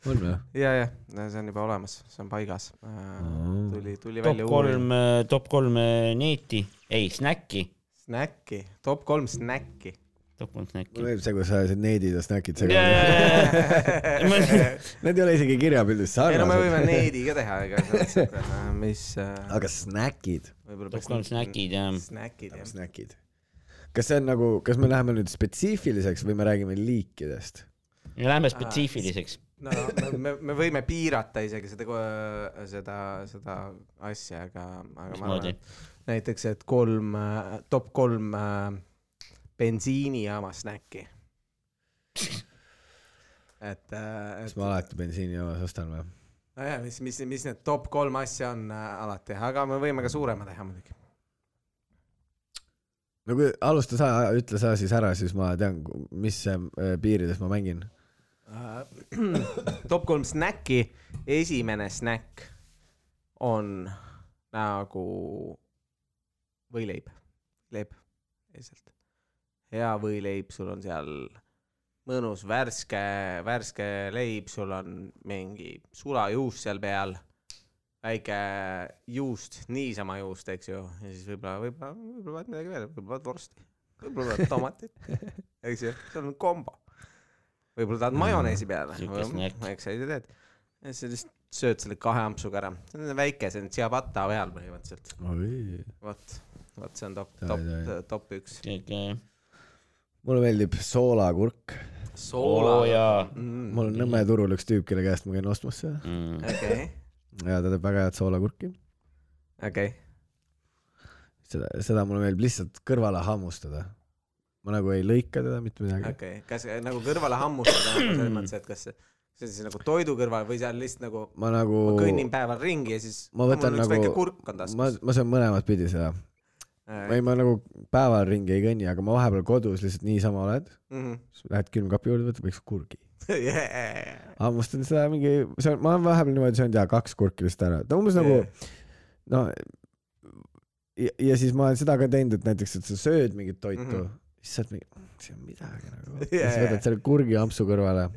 on või ?
ja , ja see on juba olemas , see on paigas . tuli , tuli
top
välja .
kolm , top kolm äh, neeti , ei snäkki ,
Snäkki , top kolm snäkki .
top kolm snäkki
mulle . meeldib see , kus sa ajasid needid ja snäkid segamini .
ei ,
Need ei ole isegi kirjapildis
ei no me võime
sarnased .
needi ka teha , ega see on siuke , mis äh,
aga snäkid ?
võib-olla
top kolm snäkid ja
snäkid jah .
snäkid . kas see on nagu , kas me läheme nüüd spetsiifiliseks või me räägime liikidest ?
lähme spetsiifiliseks .
no me- me , me võime piirata isegi seda , seda , seda asja , aga , aga ma
Mismoodi?
arvan , et näiteks , et kolm , top kolm äh, bensiinijaama snäkki . et ,
kas
et ,
ma alati bensiinijaamas ostan või ?
nojah , mis , mis , mis need top kolm asja on äh, alati , aga me võime ka suurema teha muidugi .
no kui alusta sa , ütle sa siis ära , siis ma tean , mis äh, piirides ma mängin .
top kolm snäkki , esimene snäkk on nagu võileib , leib lihtsalt . hea võileib , sul on seal mõnus värske , värske leib , sul on mingi sulajuust seal peal , väike juust , niisama juust , eks ju , ja siis võib-olla , võib-olla , võib-olla paned midagi veel , võib-olla paned vorsti , võib-olla paned tomatit , eks ju , see on kombo . võib-olla tahad majoneesi peale ,
Siuke snäkk.
eks sa ise teed . ja siis sa lihtsalt sööd selle kahe ampsuga ära , see on väike , see on ciabatta peal põhimõtteliselt ,
mulle
vot , vot see on top ,
Tai,
top
tai. ,
top üks .
meeldib soolakurk .
oo . jaa .
okei
mul on Nõmme turul üks tüüp , kelle käest ma käin ostmas seda
Mm.
ja ta teeb väga head soolakurki .
okei ,
seda , seda mulle meeldib lihtsalt kõrvale hammustada . ma nagu ei lõika teda mitte midagi .
okei , kas äh, nagu kõrvale hammustada nagu
Mm.
selles mõttes , et kas see see on siis nagu toidu kõrval või seal lihtsalt nagu
ma nagu ,
kõnnin päeval ringi ja siis
Ma võtan
mul on üks
nagu-
väike kurk on
ma
taskus .,
ma söön mõlemat pidi seda . ei , ma nagu päeval ringi ei kõnni , aga ma vahepeal kodus lihtsalt niisama oled ,
mhm.
lähed külmkapi juurde , võtad väikse kurgi . hammustad seda mingi , see on , ma olen vahepeal niimoodi söönud jaa , kaks kurki lihtsalt ära , ta umbes nagu no ja, ja siis ma olen seda ka teinud , et näiteks , et sa sööd mingit toitu mm , -hmm.
Mhm.
siis sa oled mingi , see on midagi nagu
Jaa,
yeah. . ja siis
jaa.
võtad selle kurgi ampsu kõrvale ,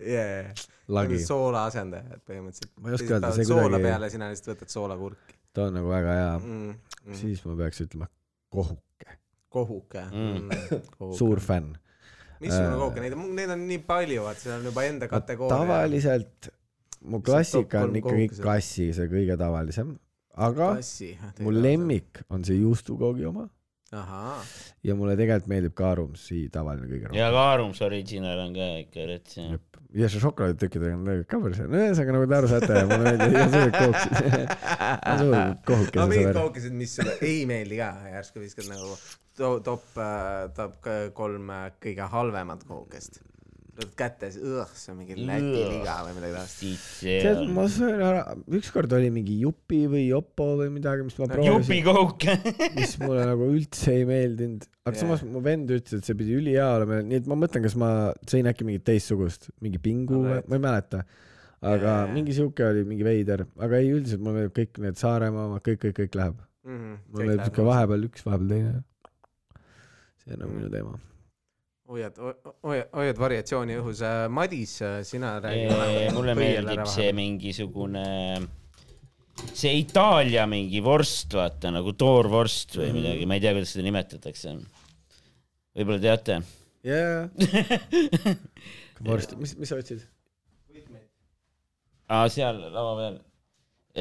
lagi ,
soola asendajad põhimõtteliselt .
Ma ei oska öelda, see
soola
kuidagi-
peale , sina lihtsalt võtad soolakurki
ta on nagu väga hea mm .
mm. .
-hmm. siis ma peaks ütlema kohuke ,
kohuke
Mm.
mm.
suur . fänn .
missugune
Äh,
kohuke , neid on , neid on nii palju , vaat seal on juba enda kategooria .
tavaliselt mu
Mis on top
klassika
kolm
on ikkagi
kohukesed?
kassi , see kõige tavalisem , aga
kassi .
mu . lemmik on see juustukoogi oma
ahaa ,
ja mulle tegelikult meeldib kaarum , see tavaline kõige rohkem .
ja Kaarums Original on ka ikka rets .
ja see šokolaaditükkidega on ka päris hea , no ühesõnaga nagu te aru saate , mulle meeldivad igasugused kohukesed . ma suur
no
kohukese
mingid
sõber .
kaukesed , mis sulle ei meeldi ka , järsku viskad nagu to- top , top k- kolm äh, kõige halvemat kaukest . võtad kätte , siis õõh , see on mingi Läti liga või midagi taolist .
tead , ma söön ära , ükskord oli mingi jupi või jopo või midagi , mis ma proovisin ,
jupikook .
mis mulle nagu üldse ei meeldinud , aga
Jaa.
yeah. samas mu vend ütles , et see pidi ülihea olema , nii et ma mõtlen , kas ma sõin äkki mingit teistsugust , mingi pingu või , ma ei mäleta . aga yeah. mingi sihuke oli mingi veider , aga ei , üldiselt mulle meeldib kõik need Saaremaa omad , kõik , kõik , kõik läheb .
Mhm,
mulle meeldib sihuke vahepeal üks , vahepeal teine . see on nagu minu teema .
hoiad , hoiad , hoiad variatsiooni õhus . Madis , sina räägi .
mulle meeldib see . mingisugune , see Itaalia mingi vorst , vaata nagu toorvorst või midagi , ma ei tea , kuidas seda nimetatakse . võib-olla teate .
jajah . vorst , mis , mis sa otsid ?
aa , seal lava peal .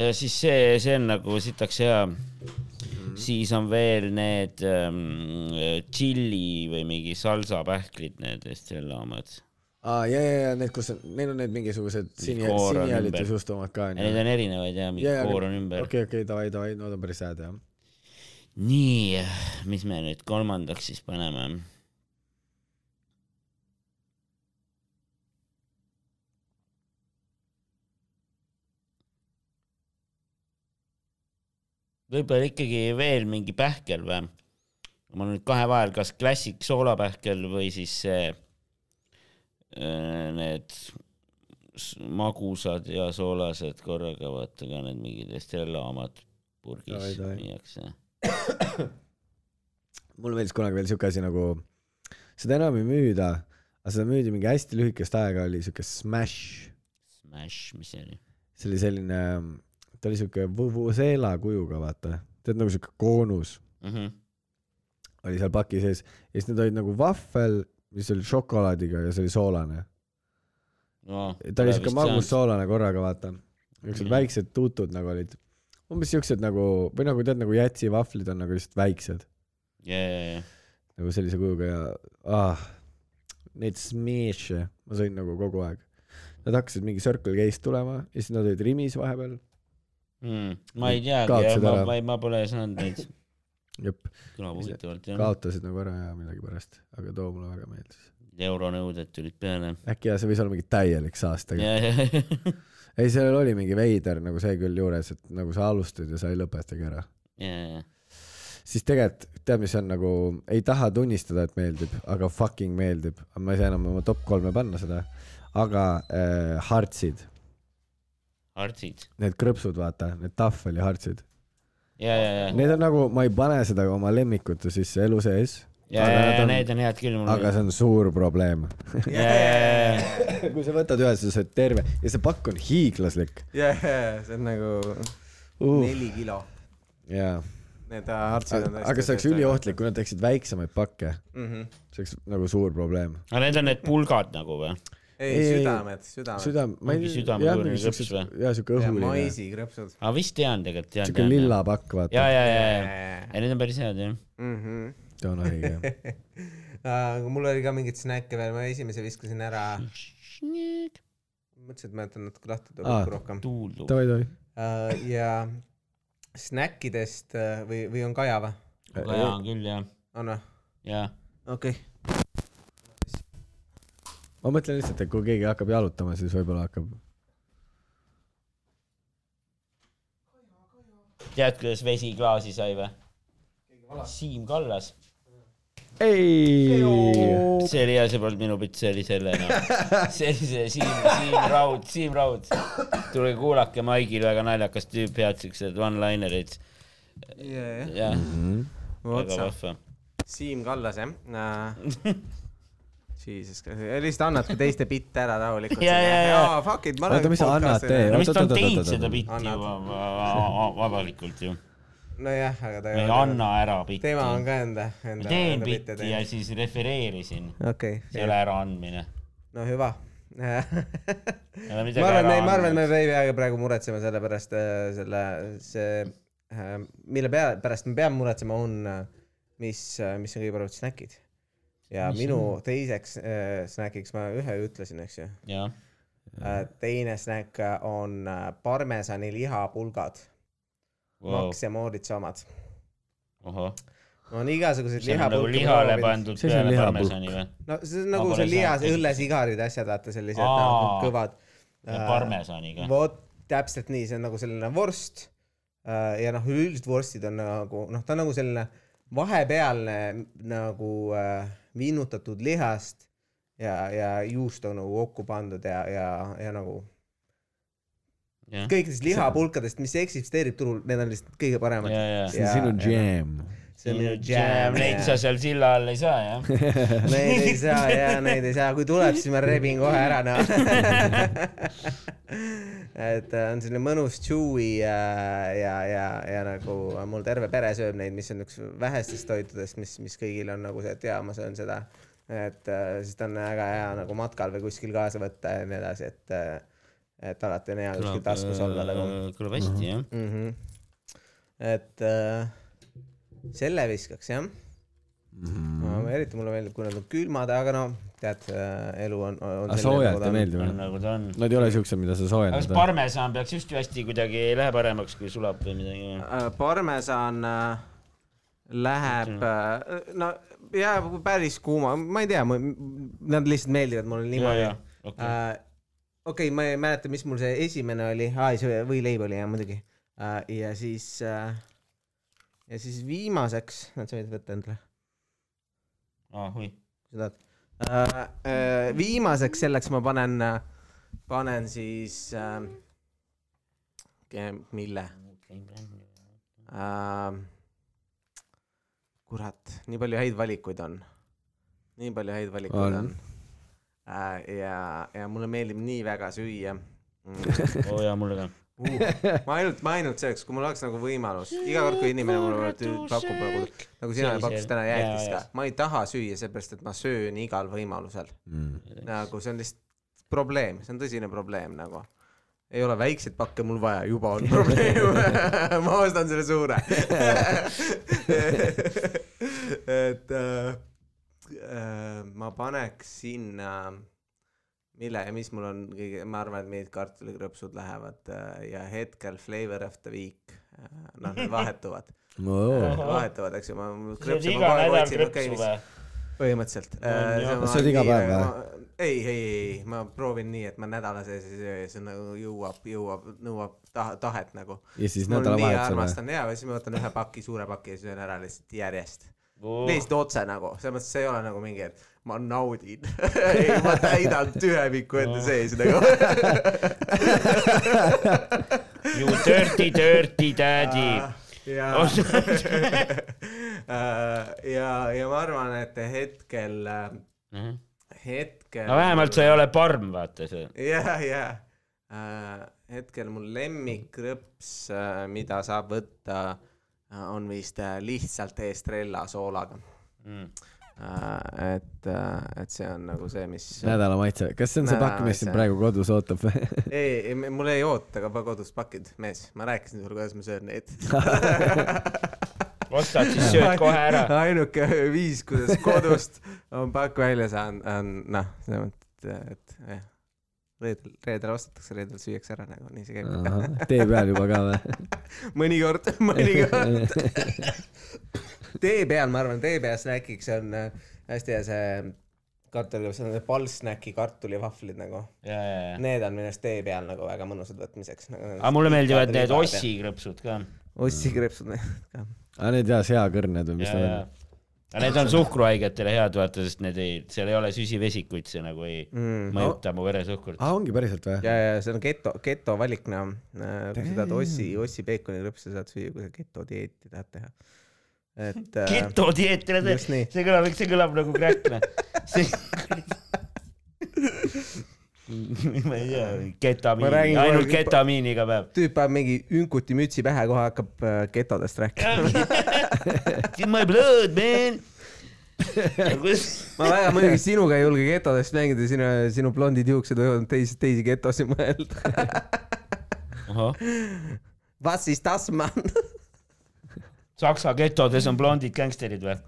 ja siis see , see on nagu sitaks hea . siis on veel need ähm, tšilli või mingi salsapähklid , need Estella omad .
aa , ja , ja , ja need , kus on , neil on need mingisugused sini ,
koor on
sinihäälite
ümber.
suust omad ka
ja neid
onju .
on erinevaid ja mingi
Jaa,
koor
aga-
on ümber okay. .
okei , okei , davai , davai , no ta on päris hääd jah .
nii , mis me nüüd kolmandaks siis paneme ? võib-olla ikkagi veel mingi pähkel või ? mul on nüüd kahe vahel , kas klassik soolapähkel või siis see äh, need s- magusad ja soolased korraga , vaata ka need mingid Estrella omad
Davai,
purgis
davai.
viiakse .
mulle meeldis kunagi veel siuke asi nagu , seda enam ei müüda , aga seda müüdi mingi hästi lühikest aega , oli siuke Smash ,
Smash , mis see oli ?
see oli selline , ta oli siuke Vuvuzela kujuga , vaata , tead nagu siuke koonus oli seal paki sees ja siis need olid nagu vahvel , mis oli šokolaadiga ja see oli soolane .
No,
ta oli siuke magus . soolane korraga , vaata , niisugused
Mhm.
väiksed tuutud nagu olid , umbes siuksed nagu või nagu tead nagu jätsivahvlid on nagu lihtsalt väiksed
ja , ja , ja ,
nagu sellise kujuga ja ah, neid smash'e ma sõin nagu kogu aeg . Nad hakkasid mingi Circle K-st tulema ja siis nad olid Rimis vahepeal .
Mm, ma ei teagi
Kaotasid ,
ma
ära. ,
ma ei , ma pole saanud neid ,
jep ,
kõlab huvitavalt jah .
kaotasid nagu ära ja millegipärast , aga too mulle väga meeldis .
euronõuded tulid peale .
äkki ja see võis olla mingi täielik saastega .
ja , ja , ja ,
ei , sellel oli mingi veider nagu see küll juures , et nagu sa alustad ja sa ei lõpetagi ära .
ja , ja ,
siis tegelikult tead , mis on nagu , ei taha tunnistada , et meeldib , aga fucking meeldib . ma ei saa enam oma top kolme panna seda , aga äh, Heartsid ,
artsid .
need krõpsud , vaata , need tahveli Heartsid .
ja , ja , ja ,
Need on nagu , ma ei pane seda oma lemmikute sisse elu sees ,
ja , ja , ja need on head küll mul .
aga see on suur probleem .
see
kui sa võtad ühe , siis sa oled terve ja see pakk on hiiglaslik
jah , see on nagu
uh, .
neli kilo .
jaa ,
Need arstid on
aga see oleks üliohtlik , kui nad teeksid väiksemaid pakke ,
mm . -hmm.
see oleks nagu suur probleem .
aga need on need pulgad nagu või ?
ei,
Ei,
ei ,
ei.
südamed , südamed Süda . .
südam , ma ei
Mingi südame
jah ,
juurde
mingi
krõps
siukse ,
või?
jaa , siuke
ja
õhuline ,
maisikrõpsud .
aga vist tean tegelikult , tean ,
siuke
tean . ja ,
lilla pakk ,
ja ,
vaata .
ja , ja , ja need on päris head jah .
see on õige .
Mhm. aga mul oli ka mingeid snäkke veel , ma esimese viskasin ära , mõtlesin , et ma jätan natuke lahti
Aa.
tulevikku rohkem .
tuul tuleb .
davai , davai .
Äh, ja snäkkidest äh, või , või on Kaja või ?
aga hea on küll jah ,
on või ?
jah .
okei okay. .
ma mõtlen lihtsalt , et kui keegi hakkab jalutama , siis võib-olla hakkab .
tead , kuidas vesi klaasi sai või ? Siim Kallas .
ei ,
see oli jah , see polnud minu pilt , see oli selle no. . see oli see Siim , Siim Raud , Siim Raud . tulge kuulake , Maigil väga naljakas tüüp , head siuksed one-linerid .
jajah ,
jah ,
Mm,
väga
otsa .
vahva .
Siim Kallas jah uh, ? Jesus , lihtsalt annadki teiste bitte ära rahulikult .
Ja, ja, ja.
fuck it , ma
Oota, mis sa annad, tee?
no mis ta on
Oot-oot-oot-oot-oot-oot.
teinud seda pilti
Annad.
juba va- va- vabalikult ju .
nojah , aga ta
ei . anna ära pilti .
tema on
ma
ka enda , enda .
teen pilti ja . siis refereerisin .
okei
see ei , ole äraandmine .
no hüva
ei ole
ma
midagi
arvan ,
ära
ma arvan , me
andnud .
ei pea praegu muretsema selle pärast , selle , see , mille pea- , pärast me peame muretsema , on , mis , mis on kõige paremad snäkid . ja mis minu on? teiseks äh, snäkiks ma ühe ju ütlesin , eks ju .
jah ,
teine snäkk on äh, parmesani lihapulgad wow. ,
vau ,
Max ja Moritsa omad .
ohoh .
on igasuguseid
see on nagu
lihapulki .
lihale pandud
See on
peale
lihapulk.
parmesani või ?
no see on
Ma
nagu
pole
see lihas ,
saanud.
õllesigarid , asjad , vaata sellised
Aa.
nagu kõvad .
ja parmesaniga .
vot täpselt nii , see on nagu selline vorst äh, ja noh , üleüldiselt vorstid on nagu noh , ta on nagu selline vahepealne nagu äh, vinnutatud lihast ja , ja juust on nagu kokku pandud ja , ja , ja nagu
Jah.
kõikidest lihapulkadest , mis eksisteerib turul , need on lihtsalt kõige paremad .
ja , ja .
see on sinu jam .
see on minu jam ,
neid sa seal silla all ei saa jah .
Neid ei saa ja neid ei saa , kui tuleb , siis ma rebin kohe ära no. . et äh, on selline mõnus chewy ja , ja , ja , ja nagu mul terve pere sööb neid , mis on üks vähestest toitudest , mis , mis kõigil on nagu see , et jaa , ma söön seda . et äh, siis ta on väga hea nagu matkal või kuskil kaasa võtta ja nii edasi , et , et alati on hea kuskil taskus olla
äh,
nagu .
kõlab hästi jah .
mm . -hmm. et äh, selle viskaks jah mm .
Mhm.
-hmm. eriti mulle meeldib , kui nad on külmad , aga no tead äh, elu on, on .
aga soojad ei meeldi
on
või ?
nagu ta on .
Nad ei ole siuksed , mida sa
kas
soojendad .
parmesan peaks just ju hästi kuidagi , ei lähe paremaks , kui sulab või midagi või ?
äh, . parmesan äh, läheb äh, , no jääb päris kuuma , ma ei tea , nad lihtsalt meeldivad mulle niimoodi . Äh.
okei ,
okei , okei , ma ei mäleta , mis mul see esimene oli , aa ei see võileib oli jah muidugi . ja siis äh, , ja siis viimaseks , näed sa võid võtta endale ,
ah oi .
kui sa tahad äh, . Äh, viimaseks selleks ma panen , panen siis äh, , mille äh, ? kurat , nii palju häid valikuid on . nii palju häid valikuid
On.
on, on. . Äh, ja , ja mulle meeldib nii väga süüa mm. .
oo jaa , mulle ka .
Uh, ma ainult , ma ainult sööks , kui mul oleks nagu võimalus , iga kord , kui inimene mulle tü- pakub nagu , nagu sina
See oli
pakkusid
see.
täna
Jaa,
jäätist ka
jaa. ,
ma ei taha süüa , seepärast et ma söön igal võimalusel .
Mm.
nagu see on lihtsalt probleem , see on tõsine probleem nagu . ei ole väikseid pakke mul vaja , juba on probleem . ma ostan selle suure . et äh, äh, ma paneks sinna , mille ja mis mul on kõige , ma arvan , et meid kartulikrõpsud lähevad äh, ja hetkel flavor of the week , noh need vahetuvad , vahetuvad , eks ju , ma .
sa oled iga nädal krõpsu või ?
põhimõtteliselt Äh,
jah.
no,
Kas sa oled iga päev või? ?
ei , ei , ei , ma proovin nii , et ma nädala sees ei söö ja see nagu jõuab , jõuab , nõuab taha , tahet nagu .
ja siis
mul nii
nädalavahetusel või ?
armastan ja siis ma võtan ühe paki , suure paki ja söön ära lihtsalt järjest .
Oh.
lihtsalt otse nagu , selles mõttes see ei ole nagu mingi , et ma naudin . ei , ma täidan tühemikku
Oh.
enda sees nagu .
You dirty , dirty daddy .
Äh.
Oh.
ja , Äh, ja , ja ma arvan , et hetkel , hetkel .
Mhm. no vähemalt sa ei ole parm , vaata see .
jah , jah . hetkel mu lemmikrõps , äh, mida saab võtta , on vist äh, lihtsalt Estrella soolaga .
Mm.
et , et see on nagu see , mis .
nädala maitse , kas see on see pakk , mis sind praegu kodus ootab või ?
ei , ei , mul ei oota ka pa- kodus pakid , mees , ma rääkisin sulle , kuidas ma söön neid .
ostad , siis sööd kohe ära .
ainuke viis , kuidas kodust on pakk välja saanud , on noh , selles mõttes , et jah . reedel , reedel ostetakse , reedel süüakse ära nagu nii see käib .
tee peal juba ka või ?
mõnikord , mõnikord . tee peal , ma arvan , tee peal snäkiks on äh, hästi hea see kartuli , see on see palsnäki kartulivahvlid nagu .
ja , ja , ja .
Need on minu arust tee peal nagu väga mõnusad võtmiseks nagu .
aga mulle meeldivad need . ossikrõpsud ka .
ossikreepsud need ka .
aa , need jaa , seakõrned või mis
ja ,
nad
ja
on ..
aga need on suhkruhaigetele head , vaata , sest need ei , seal ei ole süsivesikuid , see nagu ei
Mm.
mõjuta mu
Ah,
veresuhkurt .
aa , Ah, ongi päriselt või ?
ja , ja see on geto , geto valik noh . kui sa tahad ossi , ossi peekonirõpsa saad süüa , kui sa geto dieeti tahad teha . et äh,
ketodieetile
Just nii.
teed , see kõlab , see kõlab nagu kräkna . see . ma ei tea ,
Ma
ketamiin ,
räägin kogu
ainult
aeg-
ketamiin iga päev .
tüüp paneb mingi ünkuti mütsi pähe , kohe hakkab äh, getodest rääkima .
In my blood , man .
ma väga muidugi sinuga ei julge getodest mängida , sinu , sinu blondid juuksed võivad teisi , teisi getosid mõelda . Was ist das man ?
Saksa getodes on blondid gängsterid või ?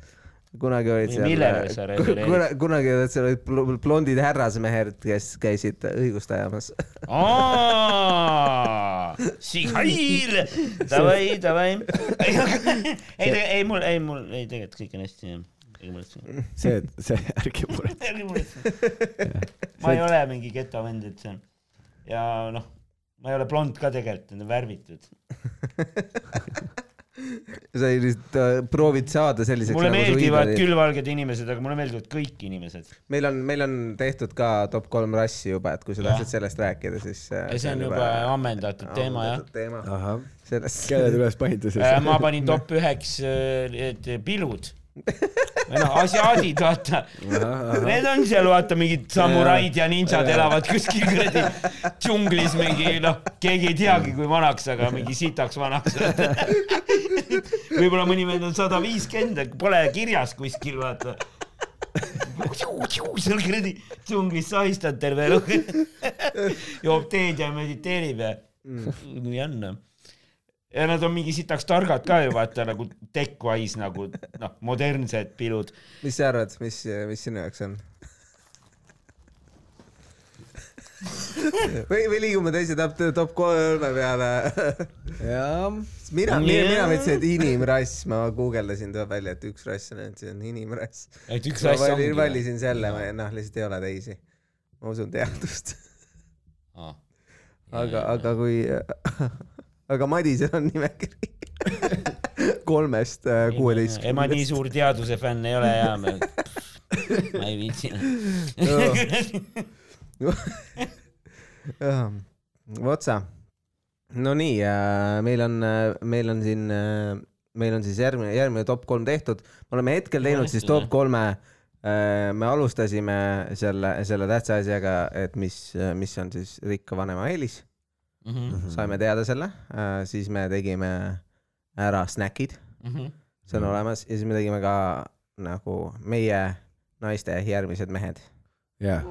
kunagi olid
Või
seal .
millele sa refereerid?
kunagi , kunagi olid seal olid bl- blondid härrasmehed , kes käisid õigust ajamas .
Sihail , davai , davai . ei , ei mul , ei mul , ei tegelikult kõik on hästi jah . ei muretse ,
see , see , ärge muretsege .
ei muretse . ma ei ole mingi getovend üldse . ja noh , ma ei ole blond ka tegelikult , need on värvitud .
sa lihtsalt äh, proovid saada
nagu
selliseks nagu
mulle meeldivad iidari. küll valged inimesed, aga mulle meeldivad kõik inimesed.
meil on, meil on tehtud ka top kolm rassi juba, et kui sa tahtsid sellest rääkida, siis
äh,. see on juba ammendatud teema jah.
sellest.
kellele te üles panite siis
äh,? ma panin top üheks äh, pilud või noh, asiaadid, vaata. Need on seal, vaata, mingid samuraid ja ninjad elavad kuskil kuradi džunglis mingi, noh, keegi ei teagi, kui vanaks, aga mingi sitaks vanaks. võib-olla mõni meid on sada viiskümmend, pole kirjas kuskil, vaata. seal kuradi džunglis sahistad terve elu. joob teed ja mediteerib ja nii on noh. ja nad on mingi sitaks targad ka ju vaata nagu tech-wise nagu noh, modernsed pilud.
mis sa arvad, mis, mis sinu jaoks on või, või liigume teise top, top kolme peale
jaa.
mina yeah., mina,
Mm.
mina mõtlesin, et inimrass, ma guugeldasin, tuleb välja, et üks rass on ainult, see on inimrass.
et üks rass
ongi. valisin selle, noh, lihtsalt ei ole teisi. ma usun teadust Ah. aga, aga kui aga Madisel on nimekiri kolmest kuueteistkümnest.
ma nii suur teaduse fänn ei ole ja ma, ma ei viitsi
vot sa. Nonii, meil on, äh, meil on siin, äh, meil on siis järgmine, järgmine top kolm tehtud, me oleme hetkel teinud siis top kolme. äh, me alustasime selle, selle tähtsa asjaga, et mis, äh, mis on siis rikka vanema eelis mm. -hmm. saime teada selle, äh, siis me tegime ära snäkid mm.
Mhm.
-hmm. see on olemas ja siis me tegime ka nagu meie naiste järgmised mehed.
jah.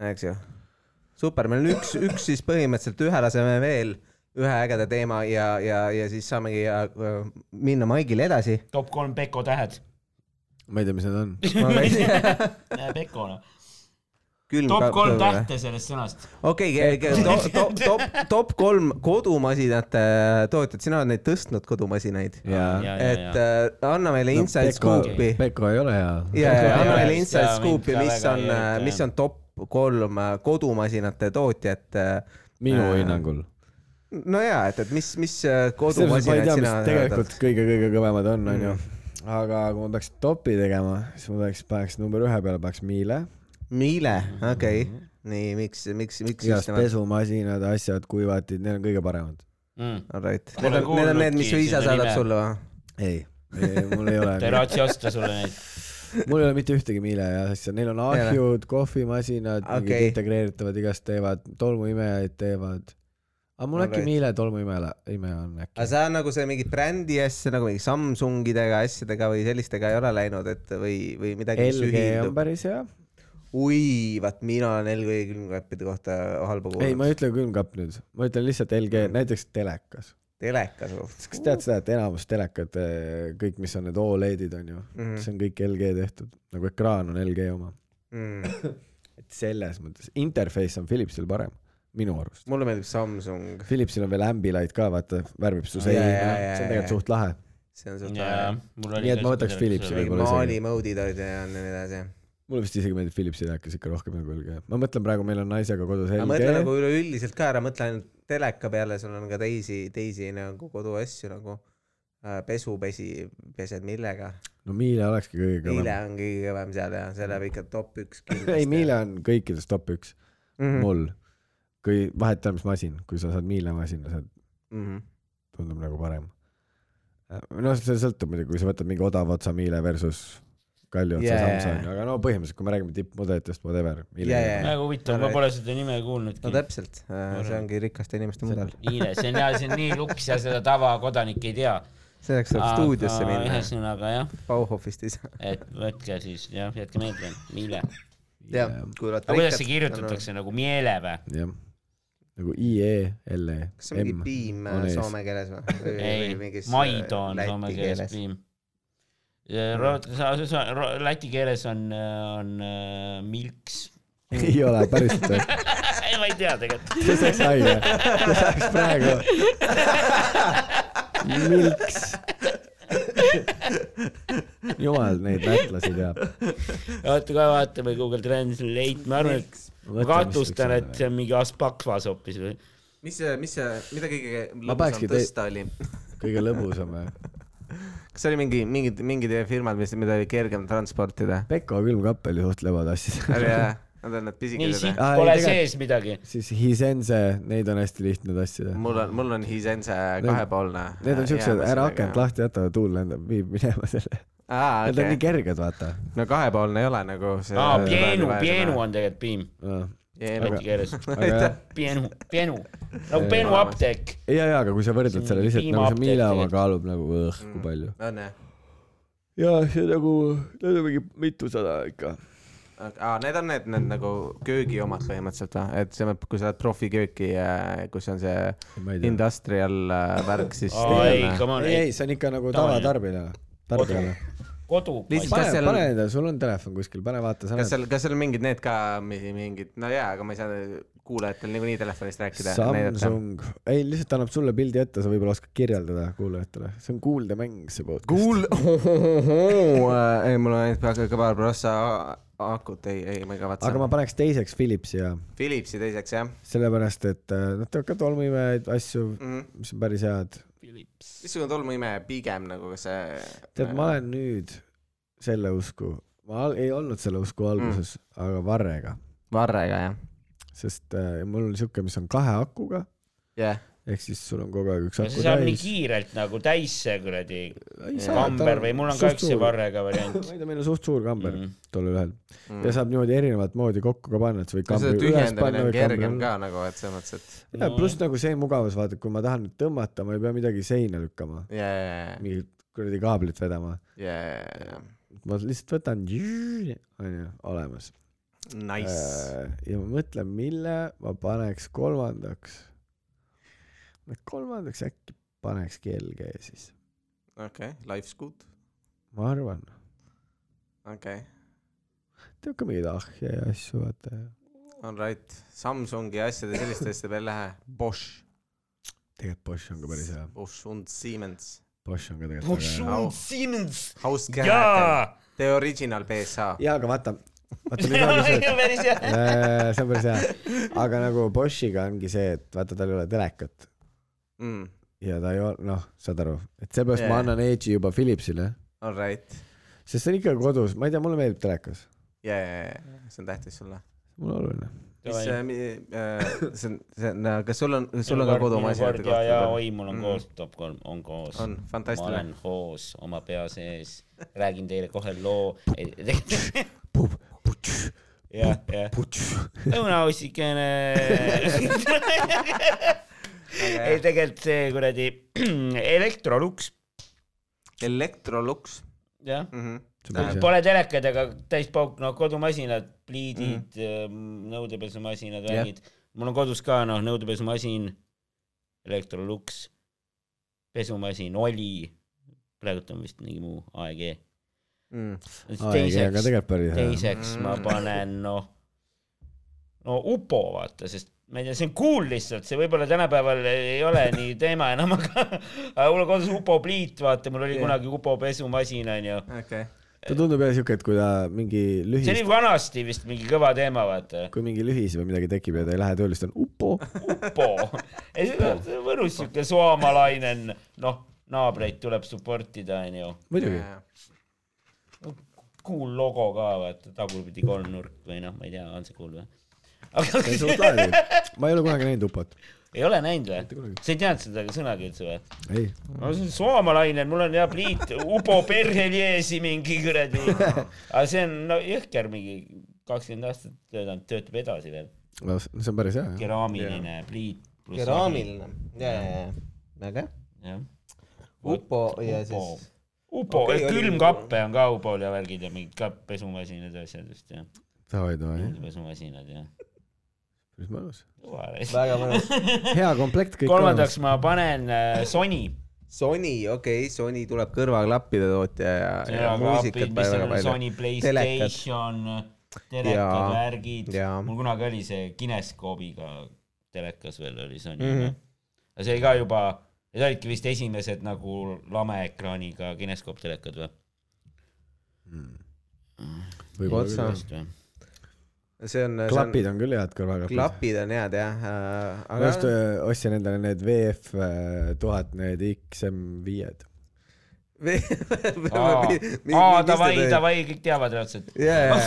eks ju. super, meil on üks, üks siis põhimõtteliselt ühe laseme veel, ühe ägeda teema ja, ja, ja siis saamegi ja, minna Maigile edasi.
top kolm Peko tähed.
ma ei tea, mis need on
Peko noh külm. top kolm tähte sellest sõnast.
okei okay,, top, top, top, top kolm kodumasinate tootjat, sina oled neid tõstnud, kodumasinaid. et äh, anna meile inside no, scoop'i.
Peko ei ole hea.
ja, ja anna meile inside scoop'i, mis on, äh, mis on top kolm äh, kodumasinate tootjat.
minu
Äh,
hinnangul
no ja, et, et mis, mis äh, kodumasinad sina. Mm.
tegelikult kõige-kõige kõvemad on, onju. aga kui ma peaks topi tegema, siis ma peaks, paneks number ühe peale, paneks Miile
Miile, okei okay. Mm, -hmm. nii miks, miks, miks?
Mhm. igast pesumasinad, asjad, kuivatid, need on kõige paremad
mm.. Alright, need on, need on need, mis su isa saadab sulle või?
ei, ei, mul ei ole.
Teraatsi osta sulle neid.
mul ei ole mitte ühtegi Miile asja, neil on ahjud, kohvimasinad okay., mingid integreeritavad, igast teevad, tolmuimejaid teevad aga mul äkki Miile tolmuimeja, ime on äkki.
aga sa nagu see mingi brändi asja nagu mingi Samsungidega asjadega või sellistega ei ole läinud, et või, või midagi.
LG on päris hea
oi, vaat mina olen LG külmkappide kohta halba kuulnud.
ei, ma ei ütle külmkapp nüüd, ma ütlen lihtsalt LG,
Mm.
näiteks telekas.
telekas.
kas tead seda, et enamus telekad, eh, kõik, mis on need Oledid on ju mm,
Mhm,
-hmm. see on kõik LG tehtud, nagu ekraan on LG oma
mhm.
mm.. et selles mõttes, interface on Philipsil parem minu arust.
mulle meeldib Samsung.
Philipsil on veel Ambilight ka, vaata, värvib
Ah,
su seina yeah,, yeah, see on tegelikult yeah. suht lahe.
see on suht lahe.
nii et ma võtaks Philipsi võib-olla
isegi. maali mode'id olid ja nii edasi
mulle vist isegi meeldib Philipsi telekas ikka rohkem nagu LG. ma mõtlen praegu, meil on naisega kodus
LG. mõtle nagu üleüldiselt ka ära, mõtle ainult teleka peale, sul on ka teisi, teisi nagu koduasju nagu äh, pesu, pesi, pesed millega.
no Miile olekski kõige kõvem.
Miile on kõige kõvem seal ja see läheb ikka top üks Mhm.
ei, Miile on kõikides top üks mm -hmm. mul. kui vahet ei ole, mis masin, kui sa saad Miile masina, saad mm,
Mhm.
-hmm. tundub nagu parem. no see sõltub muidugi, kui sa võtad mingi odava otsa Miile versus Kalju otsa yeah. Samsung, aga no põhimõtteliselt, kui me räägime tippmudelitest, whatever.
väga huvitav, ma pole seda nime kuulnudki.
no täpselt, Äh, see ongi rikaste inimeste mudel.
Iile, see on hea, see on nii luks ja seda tavakodanik ei tea.
selleks saab stuudiosse minna.
ühesõnaga jah.
Bauhofist ei saa.
et võtke siis jah, jätke meelde, Iile.
jah, kuulad.
aga kuidas see kirjutatakse nagu meele või?
jah, nagu I-E-L-E.
kas see on mingi piim äh, soome keeles või? äh,
ei, Maido on soome keeles piim läti keeles on, on uh, milks.
ei ole päriselt või?
ei, ma ei tea tegelikult.
see saaks haige, see saaks praegu. milks. jumal neid lätlasi teab.
oota, kohe vaatame Google Translate, ma arvan, et ma kahtlustan, et see on mingi Aspakvas hoopis või?
mis see, mis see, mida kõige lõbusam tõsta oli?
kõige lõbusam või?
kas oli mingi, mingid, mingid firmad, mis, mida oli kergem transportida?
Peko külmkappel ju suhtlevad
oli jah
asjadega .
Nad on need
nii
pisikesed
siit .
Aa, ei,
pole
tegelikult-
sees midagi .
siis Hisense , neid on hästi lihtne tassida .
mul on , mul on Hisense
Need-
kahepoolne .
Need on siuksed , ära akent . lahti jäta , tuul lendab , viib minema selle .
aa ,
Need on nii
okei .
kerged , vaata .
no kahepoolne ei ole nagu .
aa , pienu , pienu . on tegelikult piim ,
Pienu .
läti keeles .
aga
pienu , pienu , nagu pienu apteek .
ja , ja , aga kui sa võrdled
See on
selle lihtsalt nagu see
piimaapteek
Miila oma
tegelikult.
kaalub nagu õh ,
Mm.
kui palju .
on jah .
ja see nagu , need on mingi mitusada ikka .
aa , need on need , need nagu köögi omad põhimõtteliselt või , et see , kui sa lähed profikööki , kus on see
ma ei tea .
industrial äh, värk , siis .
ei , come on ,
ei ,
ei ,
ei , see on ikka nagu
Tavaline.
tavatarbijale , tarbijale .
kodu .
Lihtsalt-
pane
Kas , seal-
pane endale , sul on telefon kuskil , pane vaata , sa
kas
näed .
seal , kas seal on mingid need ka , mingid , no jaa , aga ma ei saa kuulajatel niikuinii telefonist rääkida .
Samsung , ei lihtsalt annab sulle pildi ette , sa võib-olla oskad kirjeldada kuulajatele , see on kuuldemäng , see podcast .
kuul- , Oh, äh, ei mul on ainult peaaegu kõva prossa akut , ei , ei ma ei kavatse .
aga ma paneks teiseks Philipsi ja
Philipsi teiseks jah
sellepärast , et äh, nad teevad ka tolmuimejaid , asju ,
mm. .
mis on päris head .
missugune tolmuimeja pigem nagu kas see .
tead , ma olen nüüd selle usku , ma al- ei olnud selle usku alguses mm. , aga varrega ,
varrega jah ?
sest äh, mul on siuke , mis on kahe akuga ,
jah ,
ehk siis sul on kogu aeg üks
see
aku
saab nii
täis .
kiirelt nagu täis see kuradi
Ei saa,
kamber
ta-
või mul on ka
suht
üks see
suur.
varrega
ma
variant
ei . tea , meil on suht suur kamber mm.
Mhm.
tollel ühel
Mm.
ja saab niimoodi erinevat moodi kokku ka panna , et sa võid
see
kambri üles panna
Mhm. tühjendamine on
või
kergem
kambri
ka nagu , et selles mõttes , et
alla . pluss nagu see mugavus , vaata , kui ma tahan nüüd tõmmata , ma ei pea midagi seina lükkama ,
ja , ja ,
mingit kuradi kaablit vedama .
ja , ja ,
ma lihtsalt võtan , onju , olemas . Äh.
nice .
ja ma mõtlen , mille ma paneks kolmandaks . kolmandaks äkki panekski LG siis ,
okei , life scoot ,
ma arvan .
okei ,
teeb ka mingeid ahje ja asju , vaata ja .
on right , Samsungi asjade selliste asjade peale ei lähe , Bosch ,
tegelikult Bosch on ka päris hea ,
Bosch und Siemens ,
Bosch on ka tegelikult väga hea .
Hausgeräte ,
jaa .
The Original PSA ,
jaa , aga vaata , vaata nüüd ongi see ,
päris hea .
et see on päris hea , aga nagu Boschiga ongi see , et vaata , tal ei ole telekat
on
ja ta ei ole , noh , saad aru , et seepärast yeah. ma
Jaa.
annan edge'i juba Philipsile
right ,
sest see on ikka kodus , ma ei tea , mulle meeldib telekas ,
ja , ja , ja , see on tähtis sulle .
mulle oluline .
mis , see on , see on , kas sul on , sul on ka kodumaa asjade
kohta ? jaa ,
kohta ?
oi , mul on koos , top kolm on koos .
Mm. on ,
ma
fantastiline .
olen hoos oma pea sees , räägin teile kohe loo . jah , jah . õunausikene . ei , tegelikult see kuradi Electrolux ,
Electrolux
jah .
mm .
See on päris
-hmm.
hea.
Pole telekad , aga täispauk , noh , kodumasinad , pliidid mm. , nõudepesumasinad ,
Jah.
värgid . mul on kodus ka , noh , nõudepesumasin , Electrolux , pesumasin oli , praegult on vist mingi muu AEG .
Mm.
E aga
teiseks ,
tegelikult päris hea .
teiseks ma panen , noh , no Upo , vaata , sest ma ei tea , see on cool lihtsalt , see võib-olla tänapäeval ei ole nii teema enam , aga aga mul on kodus Upo pliit , vaata , mul oli
Jah.
kunagi Upo pesumasin , onju
okei okay. ,
ta tundub jah siuke , et kui ta mingi
see oli
lühis ,
vanasti vist mingi kõva teema , vaata .
kui mingi lühis või midagi tekib ja ta ei lähe tööle , siis ta on upo .
Upo . ei , see on see on Võrus siuke soomalaine , noh , naabreid tuleb support ida , onju .
muidugi ,
Cool logo ka , vaata , tagurpidi kolmnurk või noh , ma ei tea , on see cool või ? aga
see on suht lahe . ma ei ole kunagi näinud upot .
ei ole näinud või
kunagi. ?
sa ei teadnud seda sõnagi üldse või ?
ei ,
no see on soomalaine , mul on hea pliit , Upo Perheliesi mingi kuradi . aga see on no, jõhker mingi kakskümmend aastat töötanud , töötab edasi veel .
no s- see on päris hea jah .
keraamiline pliit .
keraamiline , ja , ja , ja , väga hea .
jah .
Upo ja
Upo.
siis ,
Upo
Okei,
okay, ,
oli-
külmkappe on ka Upol ja värgid ja mingid ka pesumasinad ja asjad vist jah ,
davai , davai ,
pesumasinad ja .
päris mõnus .
väga mõnus .
hea komplekt kõik
kolmandaks . ma panen äh, Sony ,
Sony , okei okay, , Sony tuleb kõrvaklappide tootja ja , ja muusikat
mis
paneb
seal
väga
on
palju .
Sony Playstation , telekad
Jaa. ,
värgid ,
Jaa.
mul kunagi oli see kineskoobiga telekas veel oli Sony mm ,
Mhm.
noh.
-hmm. aga see oli ka juba , need olidki vist esimesed nagu lame ekraaniga kineskoop telekad või ?
Otsa. see on , see on ,
klapid on küll head kõrvaklapid .
klapid on head jah ,
ma just äh,
aga
öö, ostsin endale need VF tuhat , need XM5-d .
aa , davai , davai , kõik teavad reaalselt .
jaa , jaa ,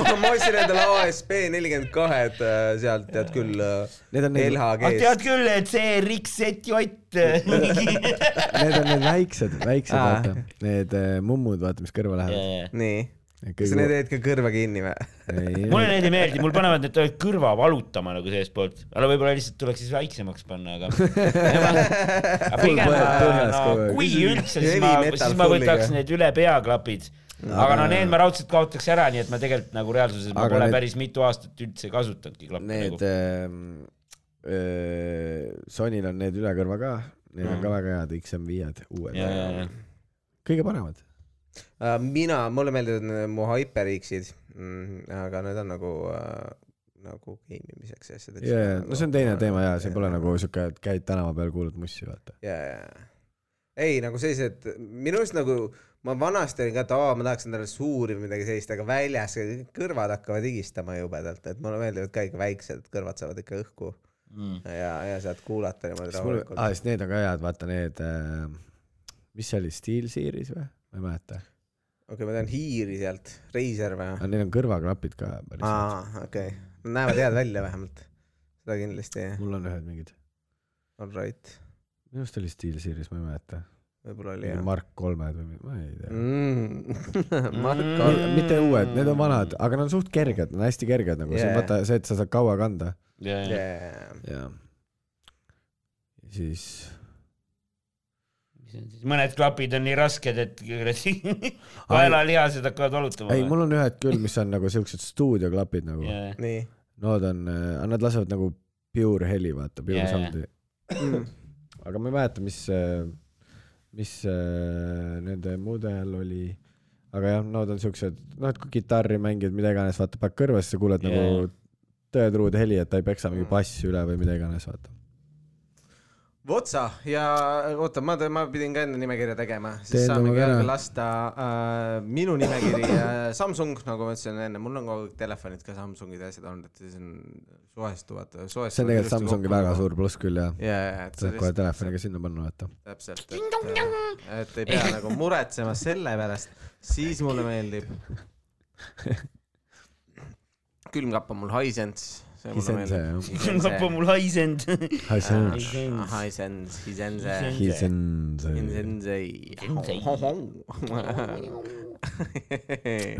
ma , ma ostsin endale ASP nelikümmend kahed sealt tead küll äh,
Need on need-
Ah,
aga
LHG-st .
tead küll , et see RiksZJ .
Need on need väiksed , väiksed
Aa.
vaata , need äh, mummud , vaata , mis kõrva lähevad .
nii , kas sa need jäid ka kõrva kinni või ?
mulle need ei meeldi , mul panevad need kõrva valutama nagu seestpoolt , aga võib-olla lihtsalt tuleks siis väiksemaks panna , aga . pigem
põhjas
no,
kogu aeg.
kui üldse , siis
Heavy
ma ,
metal
siis ma
full'iga.
võtaks need üle peaklapid . aga no need ma raudselt kaotaks ära , nii et ma tegelikult nagu reaalsuses ma
Aga
pole
need-
päris mitu aastat üldse kasutanudki klappe
Need ähm,
nagu .
äh, , Sonyl on need üle kõrva ka , need on ka väga head XM5-d ,
ja , ja ,
uued .
ja ,
kõige paremad .
Äh, mina , mulle meeldivad need mu HyperX-id mm, , aga need on nagu äh, , nagu geimimiseks ja asjadeks .
jaa , no see on teine teema ja see pole . nagu siuke , et käid tänava peal , kuulad mussi , vaata .
jaa , jaa . ei , nagu sellised , minu arust nagu ma vanasti olin ka , et aa , ma tahaks endale suuri või midagi sellist , aga väljas kõrvad hakkavad higistama jubedalt , et mulle meeldivad ka ikka väiksed , kõrvad saavad ikka õhku
Mm.
ja , ja saad kuulata niimoodi
siis mul ,
rahulikult
aa , siis need on ka head , vaata need äh, , mis see oli , SteelSeries või ? ma ei mäleta .
okei , ma tean hiiri sealt , Razer või ?
aga neil on kõrvaklapid ka päris head .
aa , okei , näevad head välja vähemalt , seda kindlasti ,
mul on ühed mingid ,
all right ,
minu arust oli SteelSeries , ma ei mäleta .
võib-olla oli
mingi
jah .
Mark kolmed või mi- ma ei tea .
mm. . Marko
Ka,
on
Mm.
mitte uued , need on vanad , aga nad on suht kerged , nad on hästi kerged nagu yeah. ,
Yeah.
vaata see , et sa saad kaua kanda .
ja , ja ,
yeah. .
ja siis
mõned klapid on nii rasked , et kaelalihased hakkavad valutama .
ei , mul on ühed küll , mis on nagu siuksed stuudioklapid nagu yeah. ,
on .
nii .
nad on , nad lasevad nagu pure heli , vaata , pure
Yeah,
yeah. sound'i . aga ma ei mäleta , mis , mis äh, nende mudel oli , aga jah , nad on siuksed , noh , et kui kitarri mängid , mida iganes , vaata , paned kõrva , siis sa kuuled yeah.
Yeah.
nagu tõetruud heli , et ta ei peksa mingi bassi üle või mida iganes , vaata .
Votsa ja oota , ma , ma pidin ka enda nimekirja tegema ,
Tee
siis saame
enda
ka
ära.
lasta äh, minu nimekiri äh, Samsung , nagu ma ütlesin enne , mul on kogu aeg telefonid ka Samsungid ja asjad olnud , et siis on suhestuvad .
see on tegelikult Samsungi väga .
nagu-
suur pluss küll jah .
ja , ja , et
saad kohe
sellest
telefoniga sinna panna , vaata .
täpselt , et , et ei pea nagu muretsema selle pärast , siis mulle meeldib külmkapp on mul Hisense , see mulle
Hisense, jah.
meeldib .
kapp on mul haisenud .
Hisense.
Hisense , Hisense .
Hisense .
Hinsensei .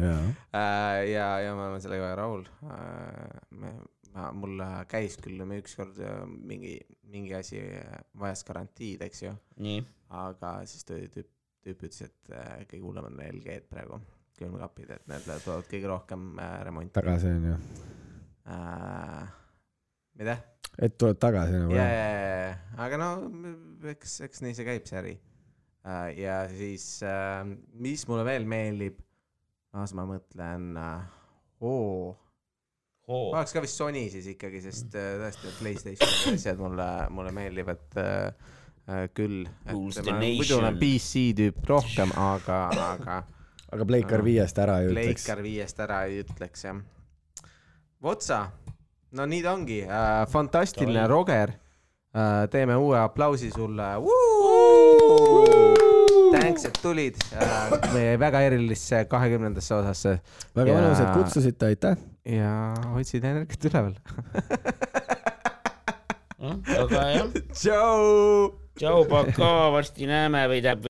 jaa .
Äh, ja , ja ma olen sellega väga rahul . me , ma , mul käis küll me ükskord äh, mingi , mingi asi äh, vajas garantiid , eks ju ,
nii ,
aga siis tuli tüüp , tüüp ütles , et äh, kõige hullemad on LG-d praegu , külmkapid , et need toovad kõige rohkem äh, remonti .
tagasi onju .
mida ?
et tuleb tagasi nagu
ja ,
jah ?
ja , ja , ja , aga no eks , eks nii see käib , see äri . ja siis , mis mulle veel meeldib , las ma mõtlen , oo ,
hoo
oleks ka vist Sony siis ikkagi , sest äh, tõesti , et Playstationi asjad mulle , mulle meeldivad äh, äh, küll .
Rules the
muidu olen
nation.
PC tüüp rohkem , aga , aga
aga Playcar viiest ära ei ütleks .
Playcar viiest ära ei ütleks jah . Votsa , no nii ta ongi äh, , fantastiline
Davai.
Roger äh, , teeme uue aplausi sulle . Thanks , et tulid äh, meie väga erilisse kahekümnendasse osasse
väga
Ja-
mõnus , et kutsusite , aitäh .
ja hoidsid energiat üleval .
aga jah ,
tšau .
Noh, tšau , pakaa , varsti näeme või tähendab .